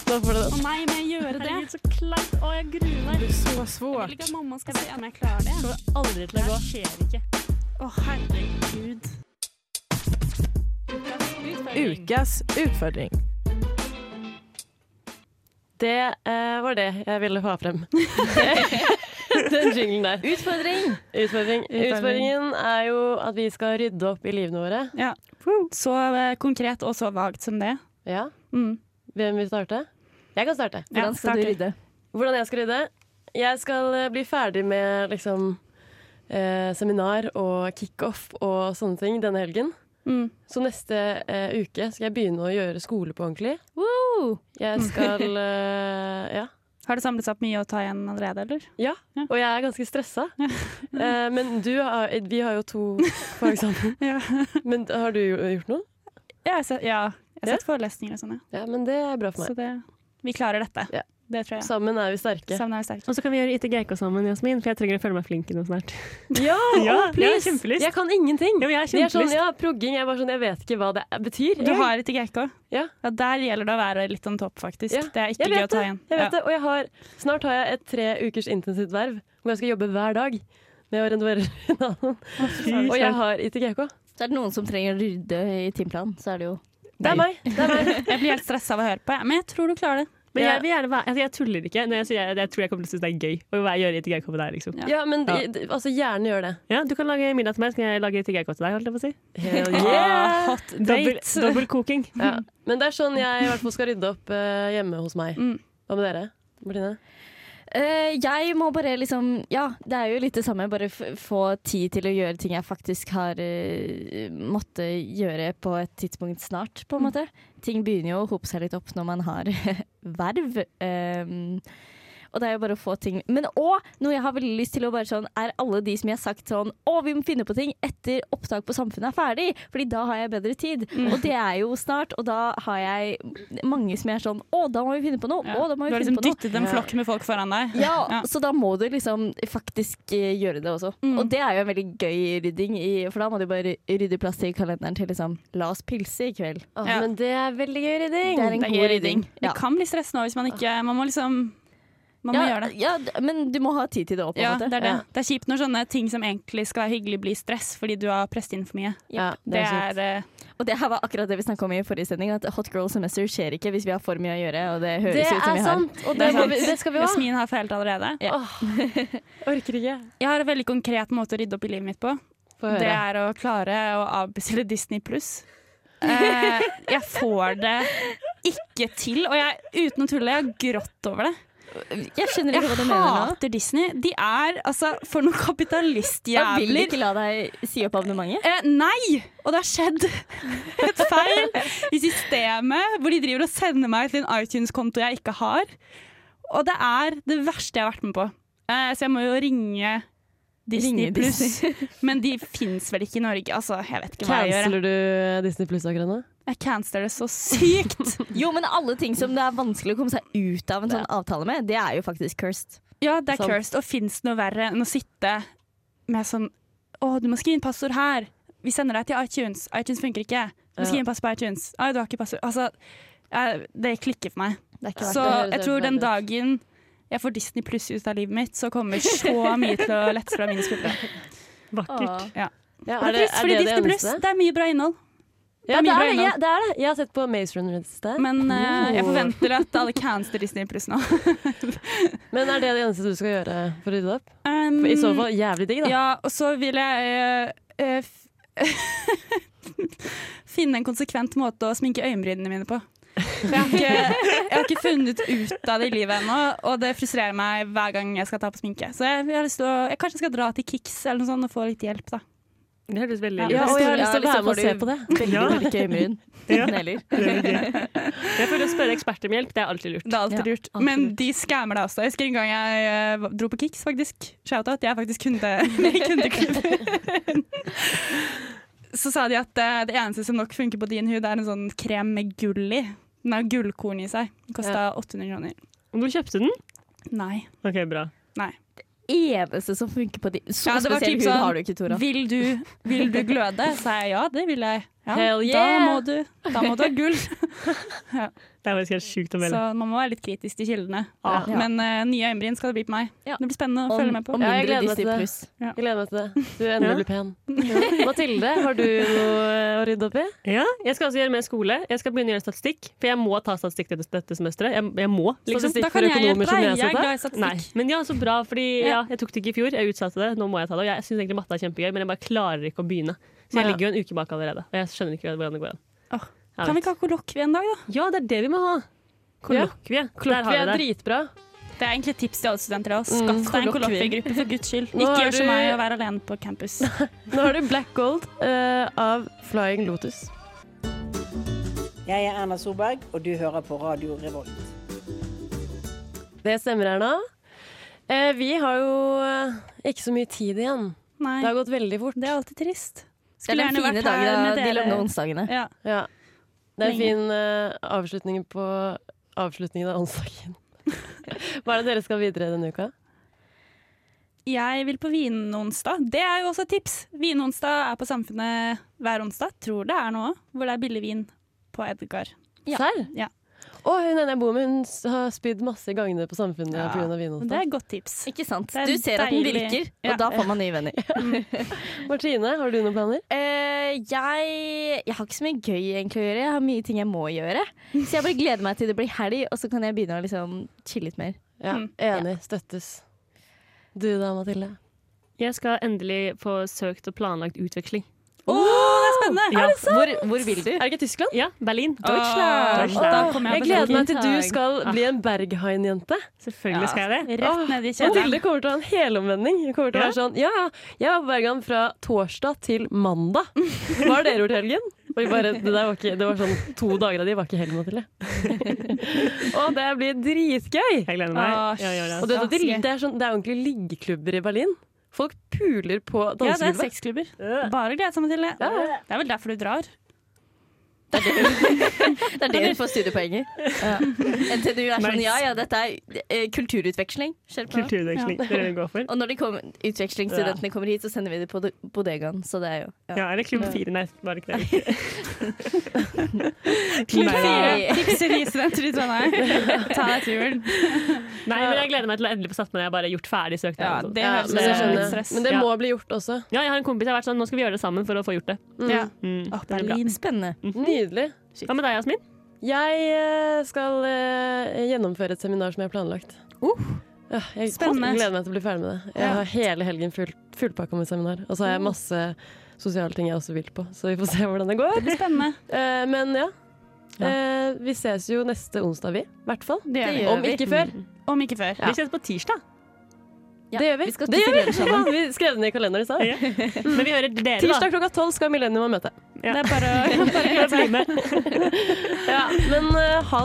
S1: får du den.
S3: Å nei, må jeg gjøre det?
S4: Herregud, så kleint. Å, jeg gruer meg.
S6: Så
S3: Jeg vil ikke at mamma skal se om jeg klarer det.
S4: Det kommer aldri til å gå. Det skjer ikke.
S3: Å, herregud.
S7: Ukas utfordring.
S1: Det eh, var det jeg ville ha frem. den jinglen der.
S2: Utfordring!
S1: Utfordring. Utfordringen er jo at vi skal rydde opp i livene våre.
S3: Ja. Så eh, konkret og så vagt som det.
S1: Ja.
S3: Mm.
S1: Hvem vil starte? Jeg kan starte.
S3: Ja,
S2: Hvordan skal
S3: starter.
S2: du rydde?
S1: Hvordan jeg skal rydde? Jeg skal eh, bli ferdig med liksom eh, seminar og kickoff og sånne ting denne helgen.
S3: Mm.
S1: Så neste eh, uke skal jeg begynne å gjøre skole på ordentlig.
S2: Woo!
S1: Jeg skal eh, Ja.
S3: Har det samlet seg opp mye å ta igjen allerede, eller?
S1: Ja,
S3: Ja.
S1: og jeg er ganske stressa. Eh, men du har, vi har jo to fag sammen.
S3: Ja.
S1: Men har du jo- gjort noe?
S3: Ja, jeg har sett, ja. jeg har sett forelesninger og sånn, ja.
S1: Ja, men det er bra for meg.
S3: Så det, vi klarer dette.
S1: Ja.
S3: Det tror jeg.
S1: Sammen er vi sterke.
S3: Sammen er vi sterke.
S4: Og så kan vi gjøre ITGK sammen, Jasmin, for jeg trenger å føle meg flink i noe snart.
S1: Ja,
S4: Ja,
S1: og
S4: jeg har
S1: please!
S4: kjempelyst.
S1: Jeg kan ingenting.
S4: Ja, men jeg har
S1: Det er sånn,
S4: kjempelyst.
S1: ja, progging. Jeg, er bare sånn, jeg vet ikke hva det er- betyr.
S3: Du har ikke GK?
S1: Ja.
S3: Der gjelder det å være litt on top, faktisk.
S1: Ja.
S3: Det er ikke
S1: Jeg
S3: gøy
S1: vet
S3: å ta
S1: det.
S3: igjen.
S1: Jeg vet
S3: ja.
S1: det. Og jeg har, snart har jeg et tre ukers intensivt verv hvor jeg skal jobbe hver dag med å renovere finalen.
S3: Mm.
S1: Og jeg har ITGK.
S2: Så er det noen som trenger å rydde i timeplanen, så er det jo
S1: Det er meg. Det er meg.
S3: Jeg blir helt stressa av å høre på, jeg. men jeg tror du klarer det.
S4: Men
S1: Ja.
S4: jeg, vil gjerne være, altså, jeg tuller ikke. Når jeg, sier jeg, jeg tror jeg kommer til å synes det er gøy å være- gjøre ITGK med deg. liksom.
S3: Ja.
S1: Ja, men det- det- altså, gjerne gjør det.
S4: Ja, Du kan lage middag til meg, så kan jeg lage ITGK til deg. holdt jeg på å si.
S1: Hell
S3: Ah, hot
S4: Dobbel,
S3: date!
S4: dobbel koking.
S1: Ja. Men det er sånn jeg i hvert fall skal rydde opp eh, hjemme hos meg.
S3: Mm.
S1: Hva med dere? Martine?
S2: Eh, Jeg må bare liksom Ja, det er jo litt det samme. Bare f få tid til å gjøre ting jeg faktisk har eh, måttet gjøre på et tidspunkt snart,
S3: Mm.
S2: på en måte. Ting begynner jo å hope seg litt opp når man har verv. Ehm, og det er jo bare å få ting Men òg noe jeg har veldig lyst til å bare sånn, er alle de som jeg har sagt sånn Å, vi må finne på ting etter opptak på Samfunnet er ferdig, Fordi da har jeg bedre tid.
S3: Mm.
S2: Og det er jo snart, og da har jeg mange som jeg er sånn Å, da må vi finne på noe.
S3: Ja.
S2: Å, da
S3: Du
S2: må vi finne
S3: har liksom
S2: på noe.
S3: dyttet en flokk med folk foran deg.
S2: Ja,
S3: Ja.
S2: så da må du liksom faktisk eh, gjøre det også.
S3: Mm.
S2: Og det er jo en veldig gøy rydding, i, for da må du bare rydde plass til kalenderen til liksom La oss pilse i kveld.
S1: Å,
S3: Ja.
S1: Ah, Men det er veldig gøy rydding.
S2: Mm, Det er en
S3: Det
S2: god
S3: er gøy rydding.
S2: rydding. Ja.
S3: Det kan bli stressende også hvis man ikke Man må liksom Man må
S2: ja,
S3: gjøre det.
S2: ja, d- men du må ha tid til det òg, på en
S3: Ja,
S2: måte.
S3: det er det.
S1: Ja.
S3: Det er kjipt når sånne ting som egentlig skal være hyggelig, blir stress fordi du har presset inn for mye.
S1: Ja,
S3: Det
S1: kjipt.
S3: er eh,
S2: Og det her var akkurat det vi snakka om i forrige sending, at hot girl semester skjer ikke hvis vi har for mye å gjøre, og det høres
S1: Det
S2: ut som
S1: er
S2: vi har.
S1: sant, og
S3: Det
S1: det,
S3: er
S1: må
S3: sant.
S1: vi, det skal vi ha.
S3: Jasmin har feilt allerede.
S2: Ja.
S1: Åh, orker ikke.
S3: Jeg har en veldig konkret måte å rydde opp i livet mitt på.
S1: Få
S3: Det
S1: høre.
S3: er å klare å avbestille Disney pluss. Eh, jeg får det ikke til, og jeg, uten å tulle, jeg har grått over det.
S2: Jeg skjønner ikke hva du
S3: Jeg
S2: mener nå.
S3: hater Disney. De er altså For noen
S2: Jeg vil
S3: kapitalistjævler.
S2: ikke la deg si opp abonnementet.
S3: Eh, nei! Og det har skjedd et feil i systemet, hvor de driver og sender meg til en iTunes-konto jeg ikke har. Og det er det verste jeg har vært med på. Eh, så jeg må jo ringe Disney
S2: Ringe
S3: Pluss. Men de fins vel ikke i Norge? Altså, jeg vet ikke hva jeg gjør. jeg.
S1: Canceler du eh, Disney Pluss akkurat nå?
S3: Jeg canceler det så sykt.
S2: Jo, men alle ting som det er vanskelig å komme seg ut av en sånn avtale med, det er jo faktisk cursed.
S3: Ja, det er
S1: Sant.
S3: cursed. Og fins det noe verre enn å sitte med sånn Å, du må skrive inn passord her. Vi sender deg til iTunes. iTunes funker ikke. Du må
S1: Ja.
S3: skrive inn passord på iTunes. Ai, du har ikke passord. Altså, jeg, det klikker for meg.
S2: Det er ikke
S3: Så
S1: verdt det.
S3: jeg tror den dagen jeg får Disney pluss ut av livet mitt, så kommer så mye til å lette fra mine skuldre.
S4: Vakkert.
S1: Ja,
S3: Det er trist, fordi Disney pluss, det er mye bra innhold.
S1: Ja,
S3: mye
S1: det
S3: bra
S1: er det. Ja,
S3: innhold.
S1: det er det. Jeg har sett på Maze Runner et sted. Men,
S3: Men eh, jeg forventer at alle canceler Disney pluss nå.
S1: er det det eneste du skal gjøre for å rydde opp?
S3: Um,
S1: For I så fall jævlig digg, da.
S3: Ja, og så vil jeg eh, eh, f- finne en konsekvent måte å sminke øyenbrynene mine på. For jeg har, ikke, jeg har ikke funnet ut av det i livet ennå, og det frustrerer meg hver gang jeg skal ta på sminke. Så jeg, jeg har lyst til å, jeg kanskje skal dra til Kix eller noe sånt og få litt hjelp, da.
S4: Det høres veldig
S1: Ja, og jeg har lyst til å være
S2: Ja,
S1: med og
S2: liksom
S1: se
S2: får
S1: på det.
S2: Veldig
S4: Ja.
S2: mørke øyenbryn.
S4: Ja.
S2: Uten heller.
S4: Jeg føler å spørre eksperter om hjelp, det er alltid lurt.
S3: Det er alltid
S2: Ja,
S3: lurt.
S2: alltid
S3: Men
S2: lurt.
S3: de skammer deg også. Jeg husker en gang jeg eh, dro på Kix, faktisk. Shout-out. Jeg er faktisk kunde i kundeklubben. Så sa de at eh, det eneste som nok funker på din hud, er en sånn krem med gull i. Den har gullkorn i seg. Den Kosta 800 kroner.
S4: Hvor kjøpte du den?
S3: Nei.
S4: Ok, bra.
S2: Eneste som funker på de Så
S3: Ja, det var
S2: spesiell
S3: typ
S2: hud
S3: sånn-
S2: har du ikke, Tora.
S3: Vil du, vil du gløde? Sa jeg ja, det vil jeg. Ja,
S1: Hell
S3: da,
S1: yeah!
S3: må du, da må du ha gull.
S4: Det er faktisk helt sjukt å
S3: Så
S4: melde.
S3: man må være litt kritisk til kildene.
S2: Ja.
S3: Men eh, nye øyenbryn skal det bli på meg.
S2: Ja.
S3: Det blir spennende å
S2: Og, og
S3: følge med på.
S1: Ja,
S2: mindre
S1: jeg gleder meg
S2: Disney
S1: til det.
S2: pluss.
S1: Jeg gleder meg til det. Du endelig blir pen. Mathilde, har du noe eh, å rydde opp i?
S4: Ja, jeg skal også gjøre mer skole. Jeg skal begynne å gjøre statistikk, for jeg må ta statistikk dette, dette semesteret. Jeg, jeg må, liksom.
S1: Statistikk
S3: Da
S1: for
S3: kan jeg
S1: økonomer,
S3: hjelpe
S1: som jeg
S3: deg. Jeg er
S1: sa det.
S3: glad i
S4: Nei.
S3: statistikk.
S4: Men ja, så bra, fordi ja,
S3: Ja.
S4: jeg tok det ikke i fjor. Jeg utsatte det, nå må jeg ta det. Og jeg syns egentlig matte er kjempegøy, men jeg bare klarer ikke å begynne. Så jeg
S1: Ja.
S4: ligger jo en uke bak allerede, og jeg skjønner ikke hvordan det går an.
S3: Åh,
S4: Jeg
S3: Kan vi
S4: vet.
S3: ikke ha kollokvie en dag, da?
S4: Ja, det er det vi må ha. Kollokvie. Der har
S1: Vi
S4: vi
S1: er
S4: det.
S1: dritbra.
S3: Det er egentlig et tips til alle studenter også. Skaff deg en kollokviegruppe, for guds skyld.
S1: Nå
S3: Mm. Ikke
S1: er
S3: gjør som
S1: du-
S3: meg og vær alene på campus.
S1: Nå har du Black Gold eh, av Flying Lotus.
S8: Jeg er Erna Solberg, og du hører på Radio Revolt.
S1: Det stemmer, Erna. Eh, vi har jo eh, ikke så mye tid igjen.
S3: Nei,
S1: Det har gått veldig fort.
S3: det er alltid trist.
S2: Det er
S3: Skulle
S2: den
S3: gjerne
S2: fine
S3: vært her
S2: dagen av
S3: med
S2: de lange
S3: dere.
S2: onsdagene.
S3: Ja.
S1: Ja. Det er en
S3: Lenge.
S1: fin eh, avslutning på avslutningen av onsdagen. Hva er det dere skal videre denne uka?
S3: Jeg vil på Vinonsdag. Det er jo også et tips. Vinonsdag er på Samfunnet hver onsdag, tror det er nå òg, hvor det er billig vin på Edgar. Ja.
S1: Serr?
S3: Ja.
S1: Å, hun ene jeg bor med, hun s- har spydd masse i gangene på Samfunnet
S3: Ja.
S1: pga.
S3: Og Det er
S1: vinonsdag.
S3: et godt tips.
S2: Ikke sant?
S3: Det er
S2: Du ser at den
S3: deilig.
S2: virker,
S3: Ja.
S2: og da får man nye venner.
S1: Martine, har du noen planer?
S2: Eh, jeg, jeg har ikke så mye gøy egentlig å gjøre. Jeg har mye ting jeg må gjøre. Så jeg bare gleder meg til det blir helg, og så kan jeg begynne å liksom chille litt mer.
S1: Ja,
S3: Mm.
S1: Enig. Støttes. Du da, Mathilde?
S4: Jeg skal endelig få søkt og planlagt utveksling.
S3: Å, det er spennende!
S4: Ja.
S2: Hvor, hvor vil du?
S1: Er det ikke Tyskland?
S4: Ja, Berlin.
S3: Åh,
S4: Deutschland.
S3: Da kommer
S1: Jeg
S3: jeg,
S1: gleder
S3: på
S1: meg til du skal
S3: Ah.
S1: bli en Berghain-jente.
S4: Selvfølgelig skal jeg
S3: snakken.
S4: det.
S3: Rett ned i kjelleren.
S1: Mathilde kommer til å ha en helomvending. Hun kommer til å
S4: Ja.
S1: være sånn Ja, ja, jeg var på Berghain fra torsdag til mandag. Hva har dere gjort i helgen? Og vi bare, det, der var ikke, det var sånn To dager av de var ikke helgen, Mathilde. Og det blir dritgøy!
S4: Jeg gleder
S3: Åh,
S4: meg. Jeg gjør det.
S1: Og du vet at
S3: Ja,
S1: det, det, er sånn, det er ordentlig liggeklubber i Berlin. Folk puler på
S3: Ja, det er
S1: dansegulvet.
S3: sexklubber. Bare glede seg til det. Det er vel derfor du drar.
S2: Det er det du får studiepoenget. Ja. NTNU er sånn ja ja, dette er eh, kulturutveksling. Skjerp deg.
S4: Kulturutveksling. Det er det vi går for.
S2: Og når de kom, utvekslingsstudentene kommer hit, så sender vi dem på do- bodegaen. Så det er jo ja.
S4: Ja, eller Klubb 4. Nei, bare ikke det.
S3: Klubb
S4: Nei,
S3: fire. Fikser de studenter i Trondheim. Ta deg turen.
S4: Nei, men jeg gleder meg til å endelig få satt meg ned og bare gjort ferdig
S3: Ja,
S4: søknaden. og sånt.
S3: det
S1: Ja,
S3: høres
S1: men,
S3: ut
S1: jeg
S3: som
S1: skjønner.
S3: stress.
S1: men det
S4: Ja.
S1: må bli gjort også.
S4: Ja, jeg har en kompis jeg har vært sånn, nå skal vi gjøre det sammen for å få gjort det.
S3: Ja.
S4: Mm.
S3: Åh,
S4: det blir bra.
S3: Berlin.
S2: Spennende.
S7: Mm.
S1: Nydelig.
S4: Hva med deg, Jasmin?
S1: Jeg eh, skal eh, gjennomføre et seminar som jeg har planlagt.
S7: Uh,
S1: Ja, jeg
S3: Spennende.
S1: gleder meg til å bli ferdig med det. Jeg
S3: Ja.
S1: har hele helgen full, fullpakka med seminar. Og så
S7: Uh.
S1: har jeg masse sosiale ting jeg også vil på, så vi får se hvordan det går.
S3: Det blir spennende.
S1: Eh, men ja.
S4: Ja.
S1: Eh, vi ses jo neste onsdag, vi. I hvert fall.
S3: Det gjør vi.
S1: Om ikke før.
S7: Mm.
S3: Om ikke før.
S1: Ja.
S4: Vi ses på tirsdag.
S2: Ja,
S1: Det gjør vi.
S2: Vi skal
S1: Det gjør
S2: spise lunsj
S1: Ja,
S2: sammen.
S1: vi skrev den i kalenderen i stad.
S4: Ja. Men vi hører dere, da.
S1: Tirsdag klokka tolv skal Millennium ha møte.
S3: Det er bare å bare glede seg.
S1: Ja, men eh, ha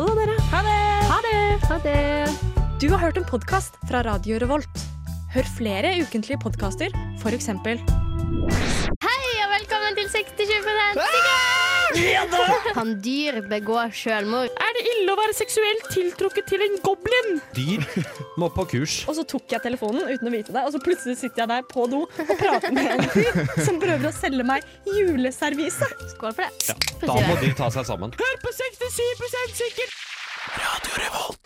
S1: det, da, dere.
S9: Du har hørt en podkast fra Radio Revolt. Hør flere ukentlige podkaster, f.eks.
S10: Velkommen til 60-20 Kan dyr begå selvmord?
S11: Dyr må på kurs.
S7: Og så tok jeg telefonen uten å vite det, og så plutselig sitter jeg der på do og prater med en fyr som prøver å selge meg juleservise.
S10: Skål for det.
S11: Da må de ta seg sammen.
S6: Hør på 67 sikkert! Radio Revolt.